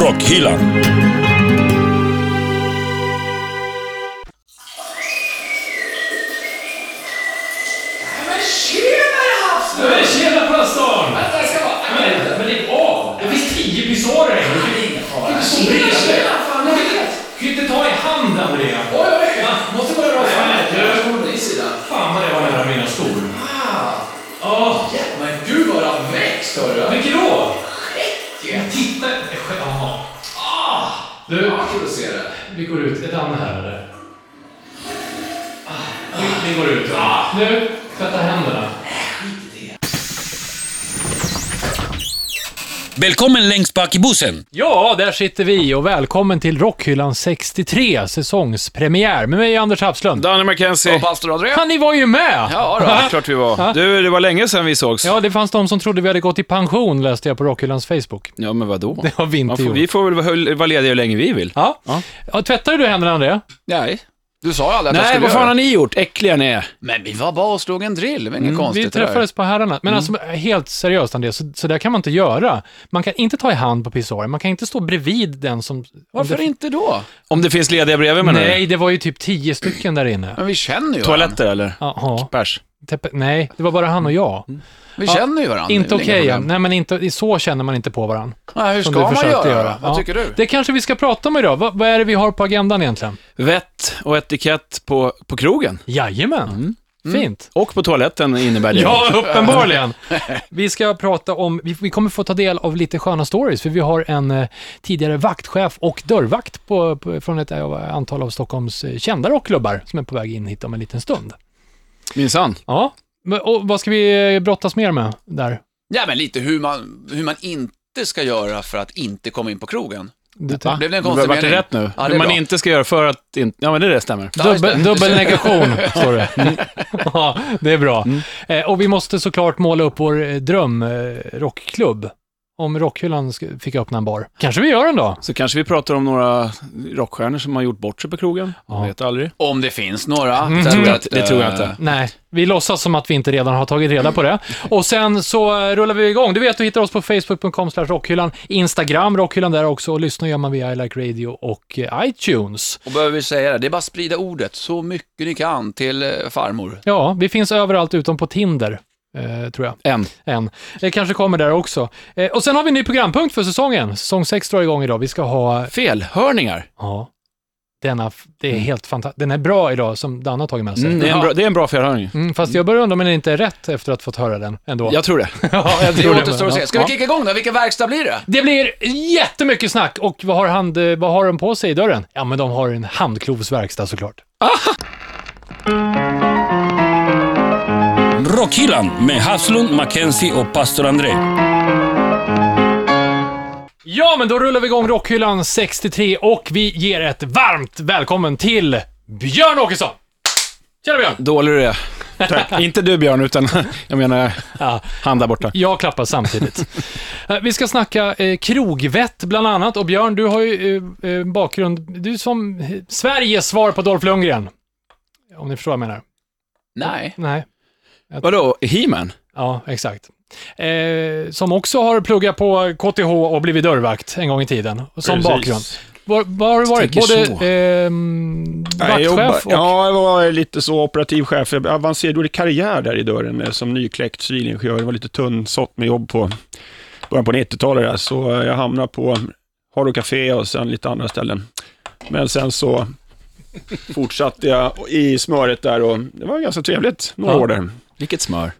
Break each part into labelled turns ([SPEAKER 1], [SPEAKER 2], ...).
[SPEAKER 1] Rockhyllan.
[SPEAKER 2] Men tjenare Havsnö!
[SPEAKER 3] Men tjena pastorn!
[SPEAKER 2] Vänta, jag ska bara...
[SPEAKER 3] Men, men lägg av! Det finns tio bisarrer här. Det är ingen fara. Det är så
[SPEAKER 2] Tjena,
[SPEAKER 3] bredare.
[SPEAKER 2] tjena! Fan, jag vet!
[SPEAKER 3] Du kan inte ta i hand, Andrea.
[SPEAKER 2] Oj, oj, oj! Måste bara röra mig. Jag kommer på din sida.
[SPEAKER 3] Fan vad det var nära mina skor.
[SPEAKER 2] Ah!
[SPEAKER 3] Åh,
[SPEAKER 2] Ja, men gud vad det har växt, hörru!
[SPEAKER 3] vilket då?
[SPEAKER 2] Skägget!
[SPEAKER 3] Jag tittar... eh, sk- Jaha. Ah! Du,
[SPEAKER 2] Ja, kul att se det.
[SPEAKER 3] vi går ut. Ett annat här, eller? Ah, Vi, vi går ut. Ah, nu, tvätta händerna.
[SPEAKER 1] Välkommen längst bak i bussen.
[SPEAKER 3] Ja, där sitter vi och välkommen till Rockhyllan 63, säsongspremiär. Med mig Anders Hafslund.
[SPEAKER 4] Danny McKenzie.
[SPEAKER 5] Pastor André?
[SPEAKER 3] Fan, ni var ju med!
[SPEAKER 5] Ja, då.
[SPEAKER 4] Ja, klart vi var. Du, det var länge sedan vi sågs.
[SPEAKER 3] Ja, det fanns de som trodde vi hade gått i pension, läste jag på Rockhyllans Facebook.
[SPEAKER 4] Ja, men vadå?
[SPEAKER 3] Det har vi
[SPEAKER 4] Man
[SPEAKER 3] inte
[SPEAKER 4] får,
[SPEAKER 3] gjort.
[SPEAKER 4] vi får väl vara- vara lediga hur länge vi vill.
[SPEAKER 3] Ja. Ja. tvättar du händerna, André?
[SPEAKER 4] Nej.
[SPEAKER 5] Du sa ju aldrig att jag
[SPEAKER 4] Nej,
[SPEAKER 5] skulle
[SPEAKER 4] vad fan
[SPEAKER 5] göra
[SPEAKER 4] har
[SPEAKER 5] det.
[SPEAKER 4] ni gjort? Äckliga ni är. Mm,
[SPEAKER 5] Men vi var bara och slog en drill, det var inget konstigt
[SPEAKER 3] vi
[SPEAKER 5] det där.
[SPEAKER 3] träffades på herrarna. Men alltså, helt seriöst, André, så, så där kan man inte göra. Man kan inte ta i hand på pissoaren, man kan inte stå bredvid den som...
[SPEAKER 5] Varför inte då?
[SPEAKER 4] Om det finns lediga bredvid menar du?
[SPEAKER 3] Nej, det var ju typ tio stycken där inne.
[SPEAKER 5] Men vi känner ju varandra.
[SPEAKER 4] Toaletter eller?
[SPEAKER 3] Jaha.
[SPEAKER 4] Bärs.
[SPEAKER 3] Tepe- Nej, det var bara han och jag.
[SPEAKER 5] Mm. Vi
[SPEAKER 3] Ja,
[SPEAKER 5] känner ju varandra.
[SPEAKER 3] Inte
[SPEAKER 5] det är inga
[SPEAKER 3] okej,
[SPEAKER 5] problem.
[SPEAKER 3] nej men inte, så känner man inte på varandra.
[SPEAKER 5] Nej, hur ska
[SPEAKER 3] Som du
[SPEAKER 5] man
[SPEAKER 3] försökte
[SPEAKER 5] göra?
[SPEAKER 3] göra.
[SPEAKER 5] Vad
[SPEAKER 3] Ja.
[SPEAKER 5] tycker du?
[SPEAKER 3] Det kanske vi ska prata om idag. Vad- vad är det vi har på agendan egentligen?
[SPEAKER 4] Vett och etikett på, på krogen.
[SPEAKER 3] Jajamän.
[SPEAKER 5] Mm.
[SPEAKER 3] Fint.
[SPEAKER 4] Och på toaletten innebär det.
[SPEAKER 3] Ja, uppenbarligen. Vi ska prata om, vi, vi kommer få ta del av lite sköna stories, för vi har en eh, tidigare vaktchef och dörrvakt på, på, från ett eh, antal av Stockholms eh, kända rockklubbar som är på väg in hit om en liten stund.
[SPEAKER 4] Minsann.
[SPEAKER 3] Ja, men- och vad ska vi eh, brottas mer med där?
[SPEAKER 5] Ja, men lite hur man, hur man inte ska göra för att inte komma in på krogen.
[SPEAKER 3] Du,
[SPEAKER 4] Va?
[SPEAKER 5] blev en
[SPEAKER 4] Vart
[SPEAKER 5] konstig
[SPEAKER 4] det
[SPEAKER 5] mening.
[SPEAKER 4] rätt nu?
[SPEAKER 5] Ja, det är
[SPEAKER 4] hur man
[SPEAKER 5] bra.
[SPEAKER 4] inte ska göra för att inte... Ja, men det, är det stämmer.
[SPEAKER 5] Ja, just
[SPEAKER 3] Dubbel,
[SPEAKER 5] det. Mm.
[SPEAKER 3] dubbel negation, står det. Ja, det är bra. Eh, och vi måste såklart måla upp vår eh, dröm eh, rockklubb. Om Rockhyllan sk- fick öppna en bar. Kanske vi gör en dag.
[SPEAKER 4] Så kanske vi pratar om några rockstjärnor som har gjort bort sig på krogen. Man vet aldrig.
[SPEAKER 5] Om det finns några.
[SPEAKER 3] Det tror
[SPEAKER 4] jag inte- det tror jag
[SPEAKER 5] eh,
[SPEAKER 4] inte.
[SPEAKER 3] Nej, vi låtsas som att vi inte redan har tagit reda på det. Och sen så eh, rullar vi igång. Du vet, du hittar oss på facebook.com slash rockhyllan, Instagram rockhyllan där också och lyssna gör man via I Like Radio och eh, iTunes.
[SPEAKER 5] Och behöver vi säga det, det är bara att sprida ordet så mycket ni kan till eh, farmor.
[SPEAKER 3] Ja, vi finns överallt utom på Tinder, eh, tror jag.
[SPEAKER 4] En.
[SPEAKER 3] Än. Det kanske kommer där också. Eh, och sen har vi en ny programpunkt för säsongen. Säsong 6 drar igång idag. Vi ska ha,
[SPEAKER 4] Felhörningar.
[SPEAKER 3] ja, denna, f- det är helt fantastiskt. Den är bra idag som Danne har tagit med sig.
[SPEAKER 4] Mm, det, är en bra, det är en bra felhörning.
[SPEAKER 3] Mm, fast jag börjar undra om den inte är rätt efter att fått höra den ändå.
[SPEAKER 4] Jag tror det.
[SPEAKER 3] ja, jag
[SPEAKER 5] Det
[SPEAKER 3] tror
[SPEAKER 5] återstår att se. Ska
[SPEAKER 3] Ja.
[SPEAKER 5] vi kicka igång då? Vilken verkstad blir det?
[SPEAKER 3] Det blir jättemycket snack och vad har, hand, eh, vad har de på sig i dörren? Ja, men de har en handklovsverkstad såklart.
[SPEAKER 1] Rockhyllan med Haslund, Mackenzie och pastor André.
[SPEAKER 3] Ja, men då rullar vi igång Rockhyllan 63 och vi ger ett varmt välkommen till Björn Åkesson! Tjena Björn!
[SPEAKER 4] Dålig du är. Tack. Inte du Björn, utan jag menar
[SPEAKER 3] Ja.
[SPEAKER 4] han där borta.
[SPEAKER 3] Jag klappar samtidigt. Eh, vi ska snacka eh, krogvett bland annat och Björn, du har ju eh, eh, bakgrund, du är som eh, Sveriges svar på Dolph Lundgren. Om ni förstår vad jag menar.
[SPEAKER 5] Nej.
[SPEAKER 3] Nej.
[SPEAKER 4] Vadå, He-Man?
[SPEAKER 3] Ja, exakt. Eh, som också har pluggat på KTH och blivit dörrvakt en gång i tiden, som bakgrund. Var, var har du varit?
[SPEAKER 4] Tänker
[SPEAKER 3] Både
[SPEAKER 4] så.
[SPEAKER 3] ehm,
[SPEAKER 6] Nej, jag jobbar-
[SPEAKER 3] vaktchef och...
[SPEAKER 6] Ja, jag var lite så operativ chef. Jag avancerade, gjorde karriär där i dörren eh, som nykläckt civilingenjör. Det var lite tunnsått med jobb på början på 90-talet. Där. Så eh, jag hamnade på Haro Café och sen lite andra ställen. Men sen så fortsatte jag i smöret där och det var ganska trevligt några
[SPEAKER 3] Ja.
[SPEAKER 6] år där.
[SPEAKER 4] Vilket smör.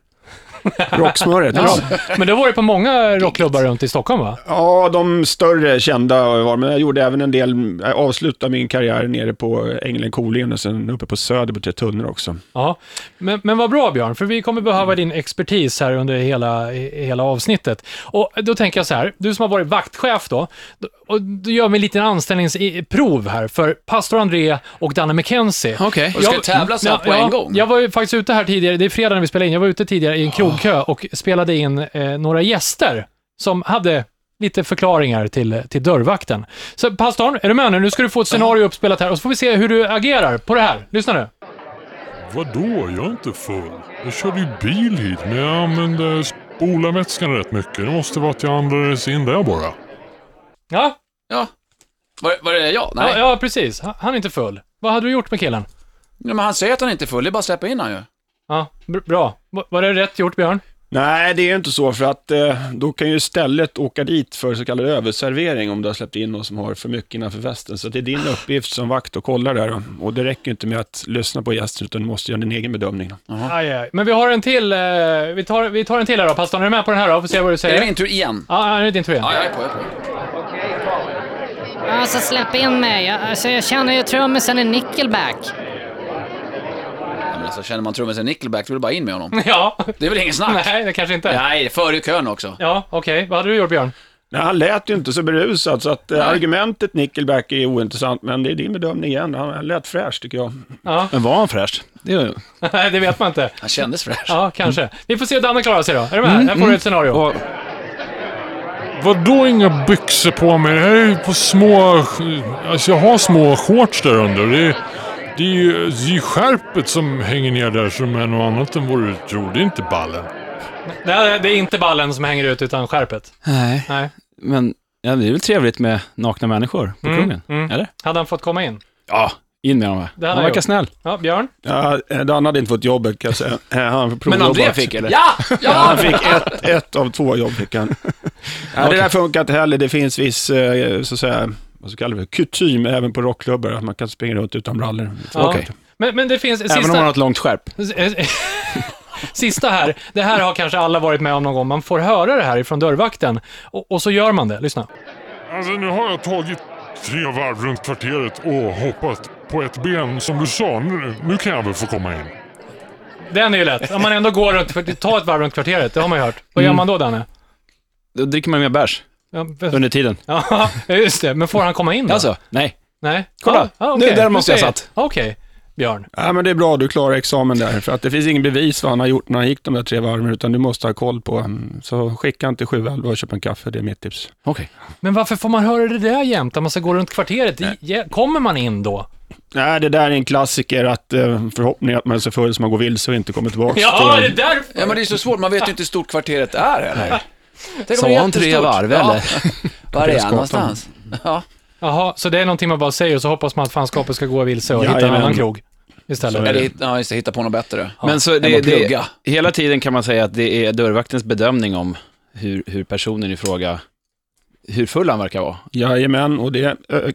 [SPEAKER 6] Rocksmöret.
[SPEAKER 3] Ja.
[SPEAKER 6] ja.
[SPEAKER 3] Men du har varit på många rockklubbar runt i Stockholm va?
[SPEAKER 6] Ja, de större kända var men jag gjorde även en del, jag avslutade min karriär nere på Änglen Kolingen och sen uppe på Söder på Tre Tunnor också.
[SPEAKER 3] Ja. Men, men vad bra Björn, för vi kommer behöva din expertis här under hela, he- hela avsnittet. Och då tänker jag så här, du som har varit vaktchef då, då- och du gör vi en liten anställningsprov här för pastor André och Danne McKenzie.
[SPEAKER 4] Okej.
[SPEAKER 5] Och ska tävla så här på en gång. Ah.
[SPEAKER 3] Jag var ju faktiskt ute här tidigare, det är fredag när vi spelar in, jag var ute tidigare i en krogkö och spelade in eh, några gäster som hade lite förklaringar till, till dörrvakten. Så pastorn, är du med nu? Nu ska du få ett scenario uppspelat här och så får vi se hur du agerar på det här. Lyssna nu.
[SPEAKER 7] Vadå, jag är inte full. Jag körde ju bil hit, men jag använde spolarvätskan rätt mycket. Det måste vara att jag andades in där bara.
[SPEAKER 3] Ja,
[SPEAKER 5] Ja. Var, var det jag? Nej.
[SPEAKER 3] Ja, ja, precis. Han han är inte full. Vad hade du gjort med killen?
[SPEAKER 5] Ja, men han säger att han inte är full, det är bara att släppa in han ju.
[SPEAKER 3] Ja, br- bra. Va- Var det rätt gjort, Björn?
[SPEAKER 6] Nej, det är inte så, för att eh, då kan ju istället åka dit för så kallad överservering om du har släppt in någon som har för mycket innanför västen. Så det är din uppgift som vakt att kolla där. Och det räcker ju inte med att lyssna på gästen, utan du måste göra din egen bedömning.
[SPEAKER 3] Aj, aj. Men vi har en till. Eh, vi, tar, vi tar en till här då. Pastorn, är du med på den här då? Får se vad du
[SPEAKER 5] Är det
[SPEAKER 3] säger.
[SPEAKER 5] min tur igen?
[SPEAKER 3] Ja, ja, det är din tur igen.
[SPEAKER 5] Ja, jag är på, jag är på.
[SPEAKER 8] Alltså släpp in mig. Jag, alltså, jag känner ju trummisen i Nickelback.
[SPEAKER 5] Ja, men alltså, känner man trummisen Nickelback, då är det bara in med honom.
[SPEAKER 3] Ja.
[SPEAKER 5] Det är väl ingen snack?
[SPEAKER 3] Nej, det kanske inte.
[SPEAKER 5] Nej, före i kön också.
[SPEAKER 3] Ja, okej. Vad hade du gjort, Björn?
[SPEAKER 6] Nej, han lät ju inte så berusad, så att, eh, argumentet Nickelback är ointressant, men det är din bedömning igen. Han han lät fräsch, tycker jag.
[SPEAKER 3] Ja,
[SPEAKER 4] Men var han fräsch? Det är...
[SPEAKER 3] nej, det vet man inte.
[SPEAKER 5] Han kändes fräsch.
[SPEAKER 3] Ja, kanske.
[SPEAKER 5] Mm.
[SPEAKER 3] Vi får se hur Danne klarar sig då. Är du med? här får du ett scenario.
[SPEAKER 7] Vad... Vadå inga byxor på mig? Det här är ju på små... Alltså jag har små shorts där under. Det är, det är ju det är ju skärpet som hänger ner där som är något annat än vad du tror. Det är inte ballen.
[SPEAKER 3] Det här- det är inte ballen som hänger ut, utan skärpet.
[SPEAKER 4] Nej,
[SPEAKER 3] Nej.
[SPEAKER 4] men ja, det är väl trevligt med nakna människor på
[SPEAKER 5] Mm,
[SPEAKER 4] krogen? Eller?
[SPEAKER 3] Hade han fått komma in?
[SPEAKER 4] Ja, in med dem här.
[SPEAKER 3] hade
[SPEAKER 4] Han
[SPEAKER 3] jag
[SPEAKER 4] verkar
[SPEAKER 3] gjort.
[SPEAKER 4] snäll.
[SPEAKER 3] Ja, Björn?
[SPEAKER 6] Ja, eh, Dan hade inte fått jobbet, kan jag säga. Eh, Han
[SPEAKER 5] Men André
[SPEAKER 6] provjobbat.
[SPEAKER 5] fick eller? Ja!
[SPEAKER 6] Han fick ett, ett av två jobb fick han. Nej, det där funkar inte heller. Det finns viss, eh, så att säga, vad så kallar vi det, kutym även på rockklubbar, att man kan springa runt utan brallor.
[SPEAKER 3] Ja.
[SPEAKER 6] Okej.
[SPEAKER 3] Men, men det finns...
[SPEAKER 4] Även om han har ett långt skärp.
[SPEAKER 3] Sista här, det här har kanske alla varit med om någon gång. Man får höra det här ifrån dörrvakten och, och så gör man det. Lyssna.
[SPEAKER 7] Alltså nu har jag tagit tre varv runt kvarteret och hoppat på ett ben som du sa. Nu, nu kan jag väl få komma in.
[SPEAKER 3] Den är ju lätt. Om man ändå går runt, ta ett varv runt kvarteret, det har man ju hört. Vad gör
[SPEAKER 4] Mm.
[SPEAKER 3] man då, Danne?
[SPEAKER 4] Då dricker man mer bärs
[SPEAKER 3] Ja,
[SPEAKER 4] under tiden.
[SPEAKER 3] Ja, just det. Men får han komma in då?
[SPEAKER 4] Alltså, nej.
[SPEAKER 3] Nej.
[SPEAKER 4] Kolla.
[SPEAKER 3] okej.
[SPEAKER 4] Nu, där
[SPEAKER 3] Du
[SPEAKER 4] måste jag
[SPEAKER 3] ser.
[SPEAKER 4] satt.
[SPEAKER 3] Okej, Björn.
[SPEAKER 6] Ja, men det är bra, du klarar examen där, för att det finns ingen bevis vad han har gjort när han gick de där tre varven, utan du måste ha koll på mm, Så skicka han till 711 och köp en kaffe, det är mitt tips.
[SPEAKER 4] Okej.
[SPEAKER 3] Men varför får man höra det där jämt, att man ska gå runt kvarteret? Det- ja, Kommer man in då?
[SPEAKER 6] Nej, det där är en klassiker, att eh, förhoppningen att man är så full så man går vilse och inte kommer tillbaka.
[SPEAKER 3] Ja, det är därför!
[SPEAKER 5] Ja, men det är så svårt, man vet ju inte hur stort kvarteret är heller. Tänk om
[SPEAKER 4] Sa
[SPEAKER 5] det är
[SPEAKER 4] han tre
[SPEAKER 5] jättestort.
[SPEAKER 4] varv,
[SPEAKER 5] Ja.
[SPEAKER 4] eller?
[SPEAKER 5] Var är
[SPEAKER 6] Skatan.
[SPEAKER 5] han någonstans? Ja.
[SPEAKER 3] Jaha, så det är någonting man bara säger och så hoppas man att fanskapet ska gå vilse och hitta en
[SPEAKER 6] Jajamän.
[SPEAKER 3] annan krog istället.
[SPEAKER 5] Eller, ja, just det, hitta på något bättre.
[SPEAKER 4] Men så
[SPEAKER 5] Än
[SPEAKER 4] det,
[SPEAKER 5] att
[SPEAKER 4] det,
[SPEAKER 5] plugga.
[SPEAKER 4] hela tiden kan man säga att det är dörrvaktens bedömning om hur, hur personen i fråga, hur full han verkar vara.
[SPEAKER 6] Jajamän, och det ö,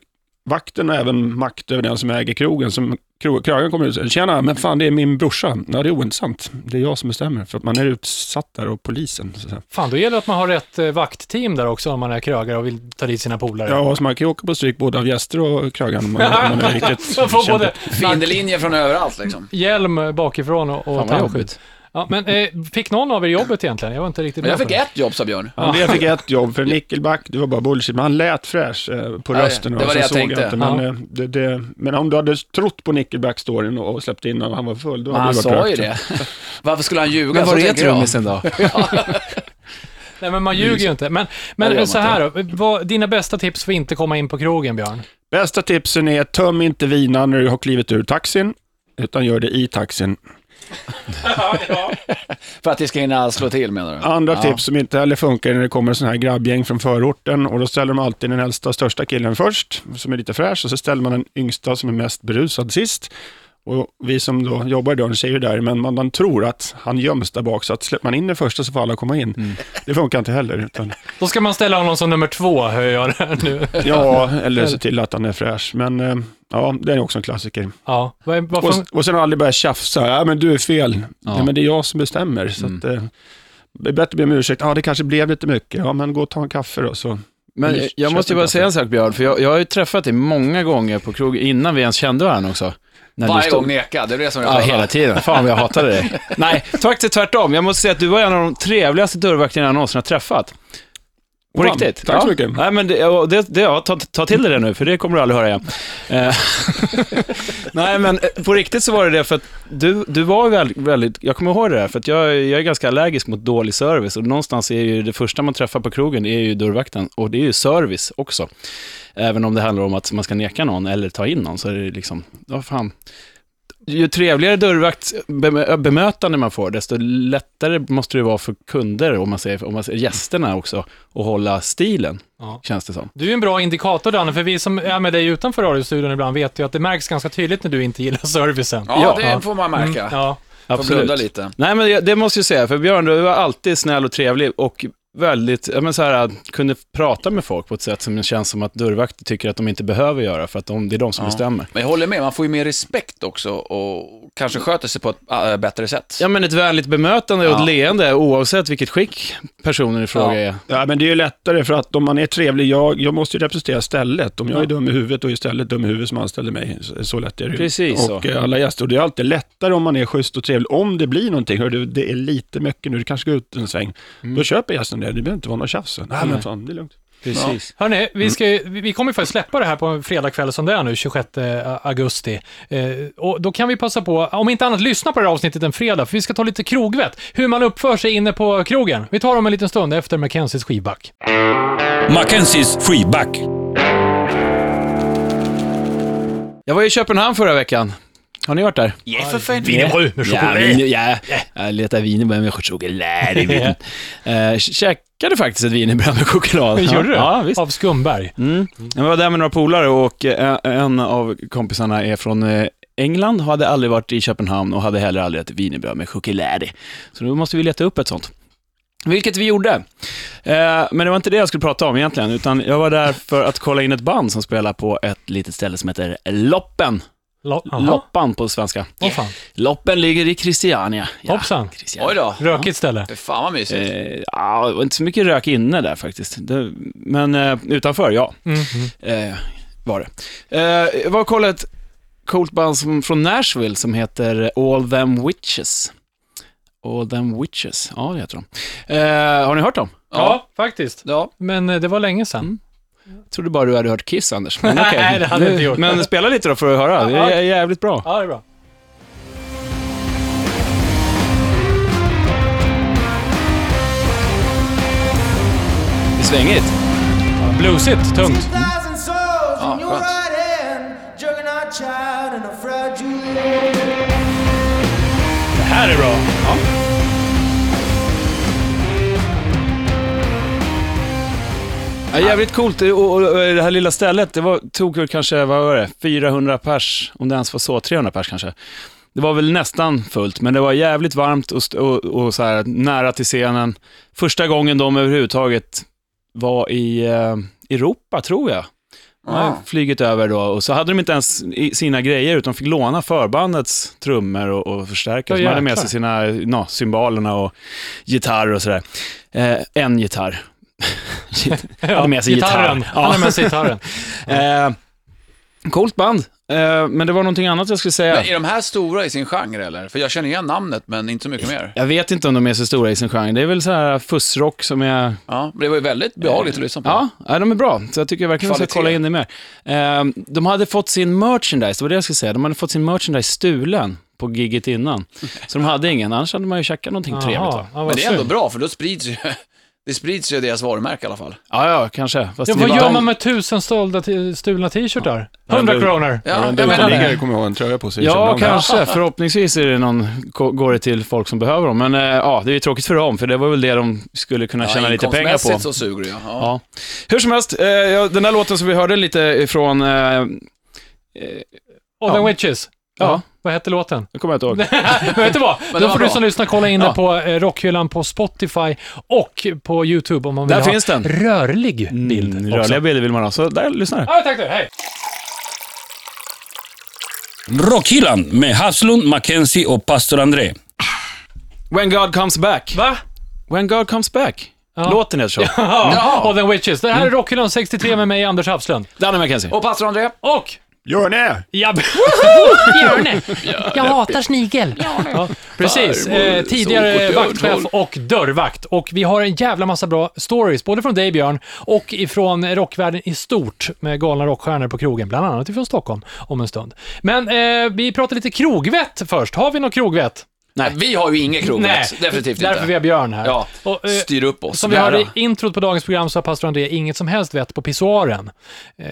[SPEAKER 6] vakten har även makt över den som äger krogen. Som kro- krögaren kommer ut och säger, tjena, men fan det är min brorsa. Ja, det är ointressant. Det är jag som bestämmer, för att man är utsatt där av polisen. Så att säga.
[SPEAKER 3] Fan, då gäller det att man har rätt eh, vaktteam där också om man är krögare och vill ta dit sina polare.
[SPEAKER 6] Ja, så man kan ju åka på stryk både av gäster och krögaren om man, om man är riktigt
[SPEAKER 3] Man får
[SPEAKER 6] kämpig.
[SPEAKER 3] både
[SPEAKER 5] Findelinjer från överallt liksom.
[SPEAKER 3] hjälm eh, bakifrån och, och
[SPEAKER 4] Fan vad
[SPEAKER 3] tandskydd.
[SPEAKER 4] jobbigt.
[SPEAKER 3] Ja, men eh, fick någon av er jobbet egentligen? Jag var inte riktigt
[SPEAKER 5] Men jag
[SPEAKER 3] med på
[SPEAKER 5] fick
[SPEAKER 3] det.
[SPEAKER 5] ett jobb, sa Björn.
[SPEAKER 6] André fick ett jobb för Nickelback, det var bara bullshit, men han lät fräsch eh, på
[SPEAKER 5] Ja,
[SPEAKER 6] rösten.
[SPEAKER 5] det
[SPEAKER 6] och
[SPEAKER 5] var
[SPEAKER 6] sen
[SPEAKER 5] det jag
[SPEAKER 6] såg
[SPEAKER 5] tänkte.
[SPEAKER 6] inte, men, eh, det, det, men om du hade trott på Nickelback-storyn och och släppt in honom, han var full, då
[SPEAKER 5] Men
[SPEAKER 6] hade
[SPEAKER 5] han
[SPEAKER 6] du varit
[SPEAKER 5] sa ju
[SPEAKER 6] rökt.
[SPEAKER 5] det. Varför skulle han ljuga?
[SPEAKER 4] Men
[SPEAKER 5] Så
[SPEAKER 4] var är
[SPEAKER 5] tänker jag.
[SPEAKER 4] trummisen då?
[SPEAKER 3] Nej, men man ljuger ju inte. Men,
[SPEAKER 5] Nej, det gör
[SPEAKER 3] men
[SPEAKER 5] man
[SPEAKER 3] så här då, vad, dina bästa tips för att inte komma in på krogen, Björn?
[SPEAKER 6] Bästa tipsen är töm inte vina när du har klivit ur taxin, utan gör det i taxin.
[SPEAKER 5] För att det ska hinna slå till menar du?
[SPEAKER 6] Andra
[SPEAKER 5] Ja.
[SPEAKER 6] tips som inte heller funkar är när det kommer sådana här grabbgäng från förorten och då ställer de alltid den äldsta och största killen först, som är lite fräsch, och så ställer man den yngsta som är mest berusad sist. Och vi som då jobbar i dörren ser ju där, men man, man tror att han göms där bak, så att släpper man in den första så får alla komma in. Det funkar inte heller. Utan,
[SPEAKER 3] Då ska man ställa honom som nummer två, hör jag det här nu.
[SPEAKER 6] ja, eller se till att han är fräsch. Men eh, ja, det är också en klassiker.
[SPEAKER 3] Ja, vad- vad
[SPEAKER 6] Och,
[SPEAKER 3] fan-
[SPEAKER 6] och sen har aldrig börjat tjafsa. Ja, men du är fel. Nej, men det är jag som bestämmer. Så att, eh, det är bättre att be om ursäkt. Ja, det kanske blev lite mycket. Ja, men gå och ta en kaffe då. Så.
[SPEAKER 4] Men
[SPEAKER 6] Eller
[SPEAKER 4] jag- jag
[SPEAKER 6] köp
[SPEAKER 4] måste ju
[SPEAKER 6] en
[SPEAKER 4] bara
[SPEAKER 6] kaffe.
[SPEAKER 4] säga en sak Björn, för jag, jag har ju träffat dig många gånger på krog innan vi ens kände varandra också. När du
[SPEAKER 5] Varje
[SPEAKER 4] stod-
[SPEAKER 5] gång neka, det är det som är
[SPEAKER 4] Ja, hela tiden. Fan vad jag hatade dig. Nej, faktiskt tvärtom. Jag måste säga att du var en av de trevligaste dörrvakterna jag någonsin har träffat. På
[SPEAKER 6] Wow,
[SPEAKER 4] riktigt.
[SPEAKER 6] tack så
[SPEAKER 4] ja.
[SPEAKER 6] mycket.
[SPEAKER 4] Nej, men det, ja, det, det, ja, ta, ta till dig det nu, för det kommer du aldrig höra igen. Eh, Nej, men eh, på riktigt så var det det för att du, du var väldigt, väldigt, jag kommer ihåg det där, för att jag, jag är ganska allergisk mot dålig service och någonstans är ju det första man träffar på krogen är ju dörrvakten och det är ju service också. Även om det handlar om att man ska neka någon eller ta in någon så är det liksom, ja fan, ju trevligare dörrvaktsbemötande man får, desto lättare måste det vara för kunder, om man säger, om man säger gästerna också, att hålla stilen,
[SPEAKER 3] Ja.
[SPEAKER 4] känns det som.
[SPEAKER 3] Du är ju en bra indikator Danne, för vi som är med dig utanför radiostudion ibland vet ju att det märks ganska tydligt när du inte gillar servicen. Mm,
[SPEAKER 5] Ja, det får man märka.
[SPEAKER 3] Ja.
[SPEAKER 5] Får blunda lite.
[SPEAKER 4] Nej, men jag- det måste jag säga, för Björn, du var alltid snäll och trevlig och väldigt, ja men så här, kunde prata med folk på ett sätt som känns som att dörrvakter tycker att de inte behöver göra, för att de, det är de som bestämmer.
[SPEAKER 5] Men jag håller med, man får ju mer respekt också och kanske sköter sig på ett äh, bättre sätt.
[SPEAKER 4] Ja, men ett vänligt bemötande och ett
[SPEAKER 5] Ja.
[SPEAKER 4] leende, oavsett vilket skick personen i fråga
[SPEAKER 5] Ja.
[SPEAKER 4] är.
[SPEAKER 6] Ja, men det är ju lättare för att om man är trevlig, jag, jag måste ju representera stället. Om jag är dum i huvudet, då är stället dum i huvudet som anställer mig. Så, så lätt är det ju.
[SPEAKER 4] Precis så.
[SPEAKER 6] Och eh, alla gäster. Och det är alltid lättare om man är schysst och trevlig. Om det blir någonting, hör du, det är lite mycket nu, du kanske ska ut en sväng. Då köper gästen det, det behöver inte vara någon tjafs. Nej, men fan, det är lugnt.
[SPEAKER 4] Precis.
[SPEAKER 3] Hörni, vi, ska, ju- vi vi kommer ju faktiskt släppa det här på en fredagkväll som det är nu, 26 augusti. Eh, och då kan vi passa på, om inte annat, lyssna på det här avsnittet en fredag, för vi ska ta lite krogvett, hur man uppför sig inne på krogen. Vi tar dem en liten stund efter Mackenzies skivback.
[SPEAKER 1] Mackenzies freeback.
[SPEAKER 4] Jag var i Köpenhamn förra veckan. Har ni varit där?
[SPEAKER 5] Ja, för fan.
[SPEAKER 3] Wienerbröd med
[SPEAKER 4] Ja,
[SPEAKER 3] choklad.
[SPEAKER 4] vin, ja. jag letar wienerbröd med choklad i vin. Eh, Käkade faktiskt ett wienerbröd med choklad.
[SPEAKER 3] Gjorde du?
[SPEAKER 4] Ja, visst.
[SPEAKER 3] Av Skumberg.
[SPEAKER 4] Mm. Jag var där med några polare och eh, en av kompisarna är från eh, England, hade aldrig varit i Köpenhamn och hade heller aldrig ätit wienerbröd med choklad i. Så då måste vi leta upp ett sånt. Vilket vi gjorde. Eh, Men det var inte det jag skulle prata om egentligen, utan jag var där för att kolla in ett band som spelar på ett litet ställe som heter Loppen.
[SPEAKER 3] Lo- aha.
[SPEAKER 4] Loppan på svenska.
[SPEAKER 3] Åh fan.
[SPEAKER 4] Loppen ligger i Christiania. Ja,
[SPEAKER 3] Hoppsan.
[SPEAKER 4] Christiania.
[SPEAKER 5] Oj då.
[SPEAKER 3] Rökigt ställe.
[SPEAKER 5] Fy fan vad mysigt.
[SPEAKER 4] Eh, ja, det var inte så mycket rök inne där faktiskt. Det, men eh, utanför, ja.
[SPEAKER 3] Mm.
[SPEAKER 4] Eh, var det. Eh, jag var och kollade ett coolt band som, från Nashville som heter All Them Witches. All Them Witches, ja det heter de. Eh, har ni hört dem?
[SPEAKER 3] Ja, faktiskt.
[SPEAKER 5] Ja.
[SPEAKER 3] Men eh, det var länge sedan.
[SPEAKER 4] Jag trodde bara du hade hört Kiss, Anders. Men okej.
[SPEAKER 3] Nej, det hade jag inte gjort.
[SPEAKER 4] Men spela lite då för att höra. Det är jävligt bra.
[SPEAKER 3] Ja, det är bra.
[SPEAKER 4] Det är svängigt.
[SPEAKER 3] Bluesigt, tungt.
[SPEAKER 9] thousand souls
[SPEAKER 5] Ah,
[SPEAKER 9] in your
[SPEAKER 5] skönt.
[SPEAKER 9] right hand, juggernaut child and a fragile.
[SPEAKER 3] här är bra.
[SPEAKER 4] Ja, jävligt coolt. Och, och, och det här lilla stället, det var, tog väl kanske, vad var det, 400 pers, om det ens var så, 300 pers kanske. Det var väl nästan fullt, men det var jävligt varmt och, st- och, och så här nära till scenen. Första gången de överhuvudtaget var i eh, Europa, tror jag. De
[SPEAKER 3] Ah.
[SPEAKER 4] hade Flygit över då, och så hade de inte ens i- sina grejer, utan fick låna förbandets trummor och, och förstärkare.
[SPEAKER 3] Ja,
[SPEAKER 4] De hade med
[SPEAKER 3] jäklar.
[SPEAKER 4] sig sina, na, cymbalerna och gitarr och sådär. Eh, en gitarr. Han hade med sig
[SPEAKER 3] gitarren.
[SPEAKER 4] gitarr. Ja.
[SPEAKER 3] Han har med sig gitarren.
[SPEAKER 4] Eh, coolt band, eh, men det var någonting annat jag skulle säga.
[SPEAKER 5] Men är de här stora i sin genre eller? För jag känner igen namnet men inte så mycket mer.
[SPEAKER 4] Jag vet inte om de är så stora i sin genre. Det är väl så här fussrock som är...
[SPEAKER 5] Ja, men det var ju väldigt behagligt att lyssna på.
[SPEAKER 4] Eh, Ja, ja, de är bra. Så jag tycker verkligen att man ska kolla in det mer. Eh, de hade fått sin merchandise, det var det jag skulle säga. De hade fått sin merchandise stulen på gigget innan. Så de hade ingen, annars hade man ju käkat någonting trevligt.
[SPEAKER 3] Jaha,
[SPEAKER 4] Va?
[SPEAKER 3] ja, vad
[SPEAKER 5] Men det är ändå
[SPEAKER 3] synd.
[SPEAKER 5] bra för då sprids ju, det sprids ju deras varumärke i alla fall.
[SPEAKER 4] Ja, ja, kanske. Fast
[SPEAKER 3] Ja,
[SPEAKER 4] det
[SPEAKER 3] vad
[SPEAKER 4] var-
[SPEAKER 3] gör man med tusen stolda t- stulna t-shirtar? 100 kronor.
[SPEAKER 5] Ja, jag
[SPEAKER 6] Den
[SPEAKER 5] menar det.
[SPEAKER 6] uteliggare kommer att ha en tröja på sig.
[SPEAKER 4] Ja,
[SPEAKER 6] Ibland.
[SPEAKER 4] kanske. Förhoppningsvis är det någon, ko- går det till folk som behöver dem. Men eh, ja, det är ju tråkigt för dem, för det var väl det de skulle kunna tjäna lite pengar
[SPEAKER 5] inkomstmässigt så
[SPEAKER 4] på.
[SPEAKER 5] suger det ja. ja.
[SPEAKER 4] Ja. Hur som helst, eh, ja, den här låten som vi hörde lite ifrån, eh, ja,
[SPEAKER 3] Och The Witches.
[SPEAKER 4] ja,
[SPEAKER 3] Vad hette låten?
[SPEAKER 4] det kommer jag inte ihåg.
[SPEAKER 3] Men vet du vad?
[SPEAKER 5] det
[SPEAKER 3] Då
[SPEAKER 5] var
[SPEAKER 3] får du
[SPEAKER 5] bra.
[SPEAKER 3] som lyssnar kolla in det
[SPEAKER 4] Ja.
[SPEAKER 3] på eh, Rockhyllan på Spotify och på YouTube om man vill
[SPEAKER 4] Där
[SPEAKER 3] ha
[SPEAKER 4] finns den.
[SPEAKER 3] rörlig bild
[SPEAKER 4] Mm,
[SPEAKER 3] också.
[SPEAKER 4] Rörliga bilder vill man ha, så där, lyssna här.
[SPEAKER 3] Ja, tack du. Hej.
[SPEAKER 1] Rockhyllan med Haslund, Mackenzie och pastor André.
[SPEAKER 4] When God comes back.
[SPEAKER 3] Va?
[SPEAKER 4] When God comes back. Låten heter så.
[SPEAKER 3] Ja, och The Witches. Det här
[SPEAKER 4] Mm.
[SPEAKER 3] är Rockhyllan 63 med mig, Anders Hafslund.
[SPEAKER 4] Danny McKenzie.
[SPEAKER 5] Och pastor André,
[SPEAKER 3] Och
[SPEAKER 6] Gör ni?
[SPEAKER 3] Ja,
[SPEAKER 8] Björne! Jag hatar snigel.
[SPEAKER 3] precis. Eh, tidigare vaktchef och dörrvakt. Och vi har en jävla massa bra stories, både från dig Björn och ifrån rockvärlden i stort med galna rockstjärnor på krogen, bland annat ifrån Stockholm om en stund. Men eh, vi pratar lite krogvett först. Har vi något krogvett?
[SPEAKER 4] Nej.
[SPEAKER 5] Vi har ju inget krogrätt, definitivt
[SPEAKER 3] därför
[SPEAKER 5] inte.
[SPEAKER 3] vi har Björn här.
[SPEAKER 5] Ja,
[SPEAKER 3] Och, eh,
[SPEAKER 5] styr upp oss.
[SPEAKER 3] Som vi hörde
[SPEAKER 5] Lära.
[SPEAKER 3] i introt på dagens program så har pastor André inget som helst vett på pissoaren. Eh,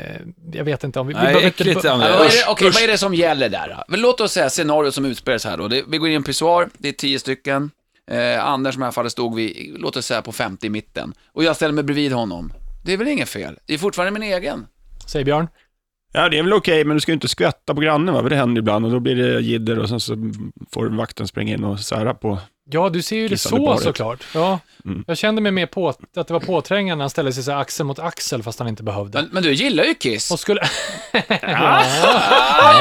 [SPEAKER 3] jag vet inte om vi... vi
[SPEAKER 4] Nej,
[SPEAKER 3] behöver-
[SPEAKER 4] äckligt,
[SPEAKER 3] be-
[SPEAKER 5] Ja,
[SPEAKER 4] André.
[SPEAKER 5] vad, är
[SPEAKER 4] Usch,
[SPEAKER 5] det, okej,
[SPEAKER 4] usch.
[SPEAKER 5] vad är det som gäller där? då? Men låt oss säga scenariot som utspelar sig här då. Det, vi går in i en pissoar, det är tio stycken. Eh, Anders som i det här fallet stod vi, låt oss säga på 50 i mitten. Och jag ställer mig bredvid honom. Det är väl inget fel? Det är fortfarande min egen.
[SPEAKER 3] Säger Björn.
[SPEAKER 6] Ja, det är väl okej, men du ska ju inte skvätta på grannen, va? för det händer ibland och då blir det jidder och sen så får vakten springa in och sära på.
[SPEAKER 3] Ja, du ser ju det
[SPEAKER 6] Kissade
[SPEAKER 3] så
[SPEAKER 6] baret.
[SPEAKER 3] såklart. Ja.
[SPEAKER 4] Mm.
[SPEAKER 3] Jag kände mig mer på att det var påträngande när han ställde sig så här axel mot axel fast han inte behövde.
[SPEAKER 5] Men, men du gillar ju Kiss.
[SPEAKER 3] Och skulle... ja,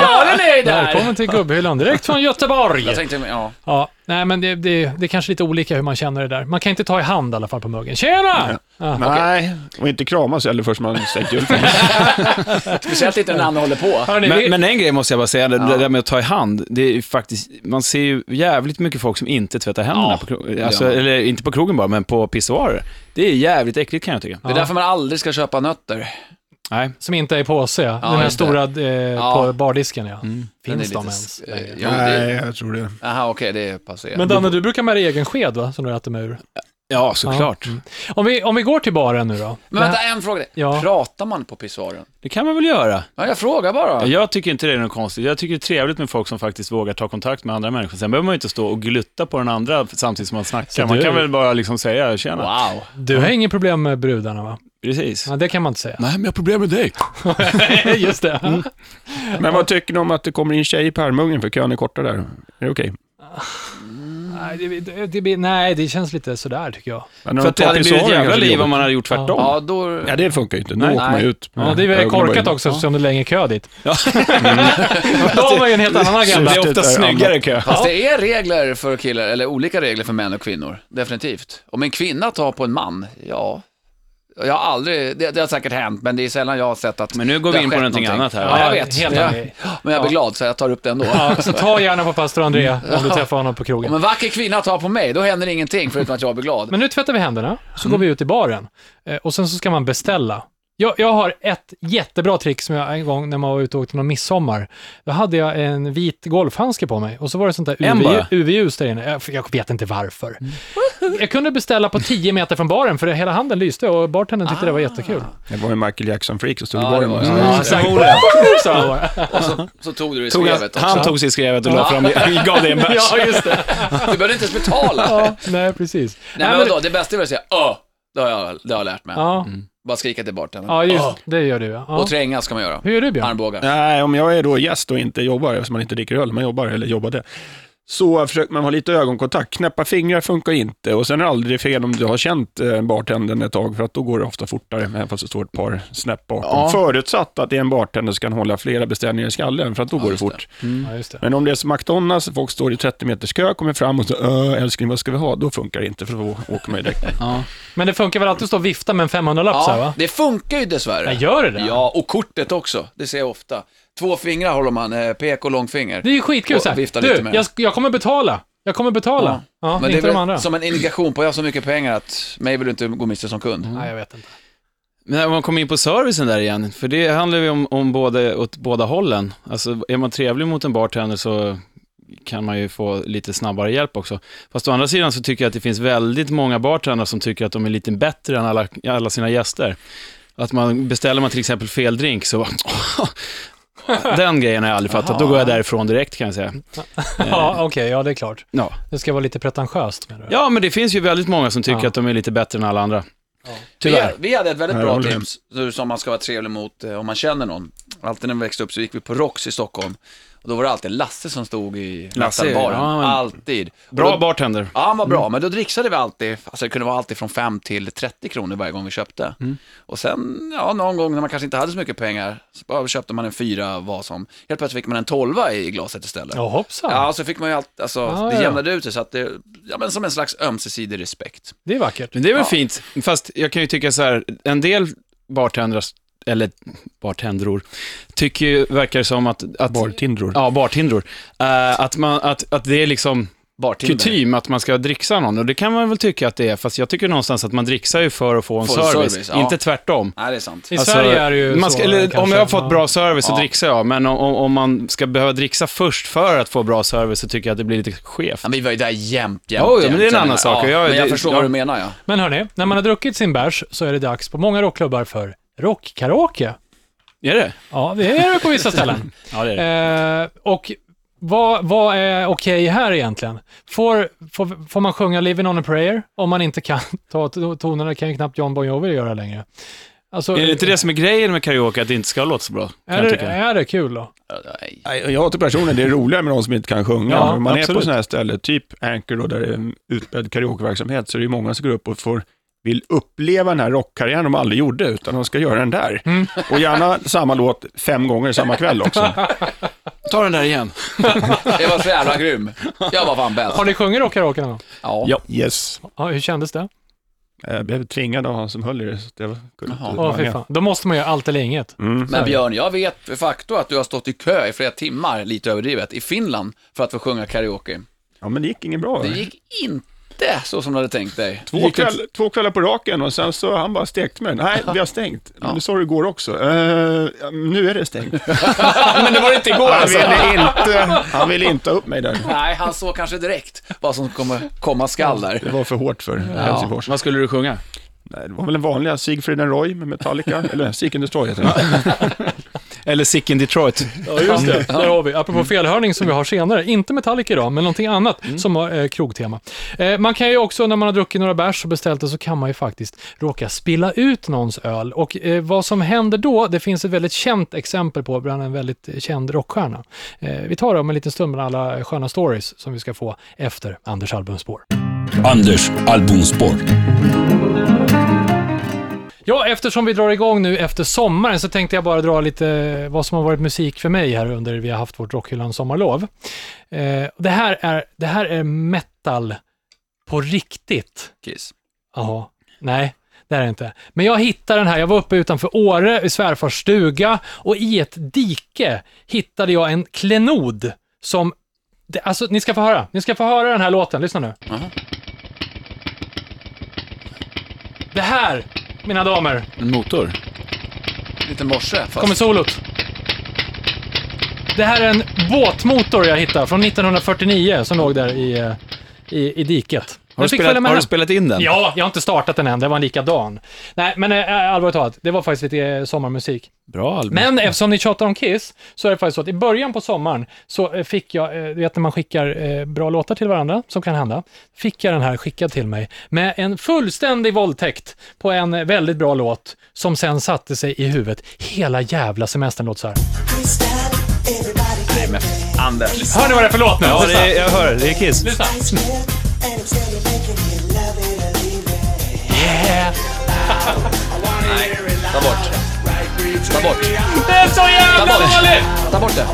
[SPEAKER 3] ja, Välkommen till gubbhyllan direkt från Göteborg.
[SPEAKER 5] Jag tänkte, ja.
[SPEAKER 3] Ja, nej men det, det, det är kanske lite olika hur man känner det där. Man kan inte ta i hand i alla fall på muggen. Tjena!
[SPEAKER 4] Ah,
[SPEAKER 3] Ja.
[SPEAKER 6] Nej, och inte kramas heller förrän man stängt julfen.
[SPEAKER 5] Speciellt inte när andra håller på.
[SPEAKER 3] Hörrni, vi-
[SPEAKER 4] Men, men en grej måste jag bara säga, det det där med att ta i hand, det är ju faktiskt, man ser ju jävligt mycket folk som inte tvättar händerna på krogen, alltså,
[SPEAKER 5] gör man.
[SPEAKER 4] eller inte på krogen bara, men på pissoarer. Det är jävligt äckligt kan jag tycka.
[SPEAKER 5] Det är därför man aldrig ska köpa nötter.
[SPEAKER 4] Nej.
[SPEAKER 3] Som inte är i påse, ja. Den här
[SPEAKER 5] inte.
[SPEAKER 3] stora eh, på bardisken, ja.
[SPEAKER 5] Mm. Den är
[SPEAKER 3] Finns de
[SPEAKER 5] lite
[SPEAKER 3] ens?
[SPEAKER 5] s- eh, jo,
[SPEAKER 6] Nej,
[SPEAKER 5] det,
[SPEAKER 6] jag tror det.
[SPEAKER 5] aha, okej, det är passé.
[SPEAKER 3] Men Danne, du brukar med dig egen sked, va? Som du äter med ur.
[SPEAKER 4] Ja, mm. såklart.
[SPEAKER 3] Om vi, om vi går till baren nu då.
[SPEAKER 5] Men vänta, en fråga.
[SPEAKER 3] Ja.
[SPEAKER 5] Pratar man på pissoaren?
[SPEAKER 4] Det kan man väl göra.
[SPEAKER 5] Ja, jag frågar bara.
[SPEAKER 4] Jag tycker inte det är något konstigt. Jag tycker det är trevligt med folk som faktiskt vågar ta kontakt med andra människor. Sen behöver man ju inte stå och glutta på den andra samtidigt som man snackar. Man
[SPEAKER 3] du-
[SPEAKER 4] kan väl bara liksom säga tjena.
[SPEAKER 5] Wow.
[SPEAKER 3] Du har inget problem med brudarna, va?
[SPEAKER 4] Precis.
[SPEAKER 3] Ja, det kan man inte säga.
[SPEAKER 4] Nej, men jag har problem med dig.
[SPEAKER 3] Just det.
[SPEAKER 6] Men vad tycker ni om att det kommer in tjejer på armungen för kön är korta där? Är det okej?
[SPEAKER 3] Nej, det, det, det, blir- nej, det känns lite sådär, tycker jag.
[SPEAKER 6] Men när
[SPEAKER 4] För
[SPEAKER 6] de
[SPEAKER 4] att det
[SPEAKER 6] tar
[SPEAKER 4] hade blivit ett
[SPEAKER 6] pissoaren
[SPEAKER 4] jävla
[SPEAKER 6] kanske
[SPEAKER 4] liv
[SPEAKER 6] jobbigt.
[SPEAKER 4] om man hade gjort tvärtom.
[SPEAKER 5] Ja, då...
[SPEAKER 6] Ja, det funkar ju inte. Då
[SPEAKER 4] Nej.
[SPEAKER 6] åker man ju ut.
[SPEAKER 3] Ja, det är väl korkat också, eftersom det är länge kö dit. Då har man ju en helt annan agenda.
[SPEAKER 4] Det är ofta
[SPEAKER 6] Syftet är
[SPEAKER 4] snyggare kö.
[SPEAKER 5] Fast det är regler för killar, eller olika regler för män och kvinnor, definitivt. Om en kvinna tar på en man, ja. Jag har aldrig, det, det har säkert hänt, men det är sällan jag har sett att
[SPEAKER 4] Men nu går
[SPEAKER 5] det har
[SPEAKER 4] vi in på
[SPEAKER 5] skett
[SPEAKER 4] någonting annat här, va?
[SPEAKER 5] Ja, jag vet.
[SPEAKER 3] Helt
[SPEAKER 5] Ja.
[SPEAKER 3] annan grej.
[SPEAKER 5] Men jag blir glad, så jag tar upp den då.
[SPEAKER 3] Ja, så ta gärna på pastor André om du träffar honom på krogen.
[SPEAKER 5] Om en vacker kvinna tar på mig, då händer ingenting förutom att jag blir glad.
[SPEAKER 3] Men nu tvättar vi händerna, så
[SPEAKER 5] Mm.
[SPEAKER 3] går vi ut i baren Eh, och sen så ska man beställa. Jag, jag har ett jättebra trick som jag en gång när man var ute och åkte någon midsommar. Då hade jag en vit golfhandske på mig och så var det sånt där
[SPEAKER 4] En
[SPEAKER 3] UV
[SPEAKER 4] bara?
[SPEAKER 3] UV-ljus där inne. Jag, jag vet inte varför.
[SPEAKER 5] Mm.
[SPEAKER 3] Jag kunde beställa på 10 meter från baren för hela handen lyste och bartendern tyckte det var jättekul.
[SPEAKER 6] Det var ju Michael Jackson-freak som stod i
[SPEAKER 5] Ja, det
[SPEAKER 6] baren.
[SPEAKER 5] var
[SPEAKER 6] också.
[SPEAKER 5] jag. Ah. Ja,
[SPEAKER 6] Mm.
[SPEAKER 3] exakt. Så var det.
[SPEAKER 5] Så tog du det i
[SPEAKER 4] Tog han,
[SPEAKER 5] skrevet också.
[SPEAKER 4] han tog sig i skrevet och la fram, gav dig en bärs.
[SPEAKER 3] Ja, just det.
[SPEAKER 5] Du behövde inte ens betala.
[SPEAKER 3] Ja, nej, precis.
[SPEAKER 5] Nej,
[SPEAKER 3] Nej,
[SPEAKER 5] men
[SPEAKER 3] men-
[SPEAKER 5] vadå, det bästa är väl att säga öh, det har jag, det har jag lärt mig.
[SPEAKER 3] Ja,
[SPEAKER 5] Bara skrika till bartendern.
[SPEAKER 3] ja just det. gör du. Ja.
[SPEAKER 5] Ah. Och tränga ska man göra.
[SPEAKER 3] Hur gör du, Björn?
[SPEAKER 5] Armbågar.
[SPEAKER 6] Nej, om jag är då gäst och inte jobbar, eftersom man inte dricker öl, man jobbar eller jobbade, så försöker man ha lite ögonkontakt. Knäppa fingrar funkar inte och sen är det aldrig fel om du har känt eh, bartendern ett tag, för att då går det ofta fortare, även fast det står ett par snäpp bakom. Förutsatt att det är en bartender som kan hålla flera beställningar i skallen, för att då går det fort.
[SPEAKER 5] Mm.
[SPEAKER 3] Ja, just det.
[SPEAKER 6] Men om det är som McDonalds, folk står i 30 meters kö, kommer fram och så äh, älskling, vad ska vi ha? Då funkar det inte, för då åker man ju direkt.
[SPEAKER 3] Men det funkar väl alltid att stå och vifta med en 500-lapp så här, va?
[SPEAKER 5] Ja, det funkar ju dessvärre.
[SPEAKER 3] Nej, gör det det?
[SPEAKER 5] Ja, och kortet också. Det ser jag ofta. Två fingrar håller man, eh, pek och långfinger.
[SPEAKER 3] Det är ju skitkul
[SPEAKER 5] Och
[SPEAKER 3] så här.
[SPEAKER 5] vifta
[SPEAKER 3] Du,
[SPEAKER 5] lite med
[SPEAKER 3] jag, jag kommer betala. Jag kommer betala. Ja,
[SPEAKER 5] Men det
[SPEAKER 3] inte
[SPEAKER 5] är
[SPEAKER 3] de andra.
[SPEAKER 5] väl som en indikation på, jag har så mycket pengar att mig vill du inte gå miste som kund.
[SPEAKER 3] Nej, jag vet inte.
[SPEAKER 4] Men om man kommer in på servicen där igen, för det handlar ju om, om både, åt båda hållen. Alltså är man trevlig mot en bartender så kan man ju få lite snabbare hjälp också. Fast å andra sidan så tycker jag att det finns väldigt många bartendrar som tycker att de är lite bättre än alla, alla sina gäster. Att man beställer man till exempel fel drink så bara, Den grejen har jag aldrig fattat, då går jag därifrån direkt kan jag säga.
[SPEAKER 3] Ja, okej, ja det är klart.
[SPEAKER 4] Ja,
[SPEAKER 3] Det ska vara lite pretentiöst menar du?
[SPEAKER 4] ja men det finns ju väldigt många som tycker
[SPEAKER 3] Ja.
[SPEAKER 4] att de är lite bättre än alla andra.
[SPEAKER 5] Vi,
[SPEAKER 4] Tyvärr.
[SPEAKER 5] vi hade ett väldigt
[SPEAKER 6] Nej, jag
[SPEAKER 5] bra
[SPEAKER 6] håller med.
[SPEAKER 5] tips nu som man ska vara trevlig mot eh, om man känner någon. Alltid när vi växte upp så gick vi på Rox i Stockholm. Och då var det alltid Lasse som stod i
[SPEAKER 4] Lasse,
[SPEAKER 5] Lasse-baren.
[SPEAKER 4] ja, men-
[SPEAKER 5] alltid. Och
[SPEAKER 4] Bra
[SPEAKER 5] då,
[SPEAKER 4] bartender.
[SPEAKER 5] Ja, han var
[SPEAKER 4] Mm.
[SPEAKER 5] bra, men då dricksade vi alltid, alltså det kunde vara alltid från 5 till 30 kronor varje gång vi köpte.
[SPEAKER 4] Mm.
[SPEAKER 5] Och sen, ja, någon gång när man kanske inte hade så mycket pengar, så bara köpte man en fyra, vad som, helt plötsligt fick man en tolva i glaset istället.
[SPEAKER 3] Ja, hoppsan.
[SPEAKER 5] Ja, så fick man ju allt, alltså
[SPEAKER 3] Ah,
[SPEAKER 5] det
[SPEAKER 3] ja.
[SPEAKER 5] jämnade ut sig så att det, ja men som en slags ömsesidig respekt.
[SPEAKER 3] Det är vackert.
[SPEAKER 4] Men det är väl
[SPEAKER 5] Ja.
[SPEAKER 4] fint, fast jag kan ju tycka så här, en del bartendrar, eller bartendror, tycker ju, verkar som att... att
[SPEAKER 6] Bartindror.
[SPEAKER 4] Ja, bartindror. Eh, att, man, att, att det är liksom,
[SPEAKER 5] bartendern.
[SPEAKER 4] kutym att man ska dricksa någon. Och det kan man väl tycka att det är, fast jag tycker någonstans att man dricksar ju för att få en
[SPEAKER 5] Få en
[SPEAKER 4] service,
[SPEAKER 5] service, ja.
[SPEAKER 4] inte tvärtom. Alltså,
[SPEAKER 5] Nej, det är sant.
[SPEAKER 3] I Sverige är det ju
[SPEAKER 4] man
[SPEAKER 3] så,
[SPEAKER 4] ska, eller, Om
[SPEAKER 3] kanske.
[SPEAKER 4] jag har fått
[SPEAKER 3] Ja.
[SPEAKER 4] bra service så
[SPEAKER 5] Ja.
[SPEAKER 4] dricksar jag, men om, om- om man ska behöva dricksa först för att få bra service så tycker jag att det blir lite skevt.
[SPEAKER 5] Ja, vi var ju där jämt, jämt,
[SPEAKER 4] Oh, ja, men
[SPEAKER 5] jämt.
[SPEAKER 4] det är en
[SPEAKER 5] Jag
[SPEAKER 4] annan
[SPEAKER 5] menar,
[SPEAKER 4] sak.
[SPEAKER 5] Ja,
[SPEAKER 4] Jag-
[SPEAKER 5] men jag
[SPEAKER 4] det-
[SPEAKER 5] förstår
[SPEAKER 4] jag-
[SPEAKER 5] vad du menar, ja.
[SPEAKER 3] Men hörni, när man har druckit sin bärs så är det dags på många rockklubbar för rockkaraoke.
[SPEAKER 4] Är det?
[SPEAKER 3] Ja, det är det på vissa ställen.
[SPEAKER 4] Ja, det är det.
[SPEAKER 3] Eh, och vad, vad är okej här egentligen? Får, får, får man sjunga Living on a prayer om man inte kan ta to- tonerna? kan ju knappt John Bon Jovi göra längre. Alltså,
[SPEAKER 4] Är det inte det som är grejen med karaoke, att det inte ska låta så bra? Kan
[SPEAKER 3] är,
[SPEAKER 4] jag
[SPEAKER 3] det,
[SPEAKER 4] tycka.
[SPEAKER 3] är det kul då?
[SPEAKER 5] Nej.
[SPEAKER 6] Nej, Jag till personen, det är roligare med de som inte kan sjunga.
[SPEAKER 3] Ja,
[SPEAKER 6] När man är
[SPEAKER 4] absolut.
[SPEAKER 6] på sådana här ställen, typ Anchor då, där det är en utbredd karaokeverksamhet, så är det ju många som går upp och får vill uppleva den här rockkarriären de aldrig gjorde, utan de ska göra den där. Och gärna samma låt fem gånger samma kväll också.
[SPEAKER 4] Ta den där igen.
[SPEAKER 5] Det var så jävla grym. Jag var fan bäst.
[SPEAKER 3] Har ni sjungit rockkaraoke någon gång?
[SPEAKER 5] Ja.
[SPEAKER 4] Ja.
[SPEAKER 6] Yes.
[SPEAKER 3] Ja, hur kändes det?
[SPEAKER 6] Jag blev tvingad av han som höll i det, så att jag kunde
[SPEAKER 5] Jaha.
[SPEAKER 6] inte
[SPEAKER 3] Åh, fy
[SPEAKER 6] vara med.
[SPEAKER 3] fan. Då måste man göra allt eller inget.
[SPEAKER 5] Men Björn, jag vet för facto att du har stått i kö i flera timmar, lite överdrivet, i Finland för att få sjunga karaoke.
[SPEAKER 6] Ja, men det gick inget bra.
[SPEAKER 5] Det gick inte så som du hade tänkt dig.
[SPEAKER 6] Två, kväll, två kvällar på raken och sen så han bara stekt mig. Nej, vi har stängt. Men du sa det igår också. Eh, ja, nu är det stängt.
[SPEAKER 5] Men det var inte igår
[SPEAKER 6] Han ville inte, han ville inte ha upp mig där.
[SPEAKER 5] Nej, han såg kanske direkt vad som kommer komma skall
[SPEAKER 6] Det
[SPEAKER 5] där.
[SPEAKER 6] var för hårt för Helsingfors.
[SPEAKER 4] Vad skulle du sjunga?
[SPEAKER 6] Nej, det var väl den vanliga Siegfried and Roy med Metallica, eller Seek and Destroy heter den.
[SPEAKER 4] Eller Sick in Detroit?
[SPEAKER 3] Ja, just det. Där har vi. Apropå felhörning som vi har senare. Inte Metallica idag, men någonting annat som har eh, krogtema. Eh, man kan ju också, när man har druckit några bärs och beställt det, så kan man ju faktiskt råka spilla ut någons öl. Och eh, vad som händer då, det finns ett väldigt känt exempel på, bland en väldigt eh, känd rockstjärna. Eh, vi tar det om en liten stund med alla sköna stories som vi ska få efter Anders albumspår.
[SPEAKER 1] Anders albumspår.
[SPEAKER 3] Ja, eftersom vi drar igång nu efter sommaren så tänkte jag bara dra lite eh, vad som har varit musik för mig här under vi har haft vårt Rockhyllan sommarlov. Eh, det, här är, det här är metal på riktigt.
[SPEAKER 5] Kiss.
[SPEAKER 3] Jaha, nej. Det är det inte. Men jag hittade den här, jag var uppe utanför Åre i svärfars stuga och i ett dike hittade jag en klenod som, det, alltså ni ska få höra, ni ska få höra den här låten, lyssna nu. Det här, mina damer,
[SPEAKER 4] En motor?
[SPEAKER 5] Lite morse, fast
[SPEAKER 3] kommer solot. Det här är en båtmotor jag hittade från 1949 som låg där i, eh, i, i diket.
[SPEAKER 4] Har du,
[SPEAKER 3] Jag fick
[SPEAKER 4] spelat,
[SPEAKER 3] följa med
[SPEAKER 4] har du
[SPEAKER 3] hem.
[SPEAKER 4] spelat in den?
[SPEAKER 3] Ja, jag har inte startat den än, det var en likadan. Nej, men eh, allvarligt talat, det var faktiskt lite eh, sommarmusik.
[SPEAKER 4] Bra Albin.
[SPEAKER 3] Men eftersom ni tjatar om Kiss, så är det faktiskt så att i början på sommaren så eh, fick jag, eh, du vet när man skickar eh, bra låtar till varandra, som kan hända, fick jag den här skickad till mig med en fullständig våldtäkt på en eh, väldigt bra låt som sen satte sig i huvudet hela jävla semestern. Låt så här.
[SPEAKER 5] Anders.
[SPEAKER 3] Hör ni vad det är för låt nu?
[SPEAKER 4] Ja, det är, jag hör. Det är Kiss.
[SPEAKER 5] Ta bort. Ta bort.
[SPEAKER 3] Det är så jävla
[SPEAKER 5] Ta bort.
[SPEAKER 3] dåligt!
[SPEAKER 5] Ta bort det.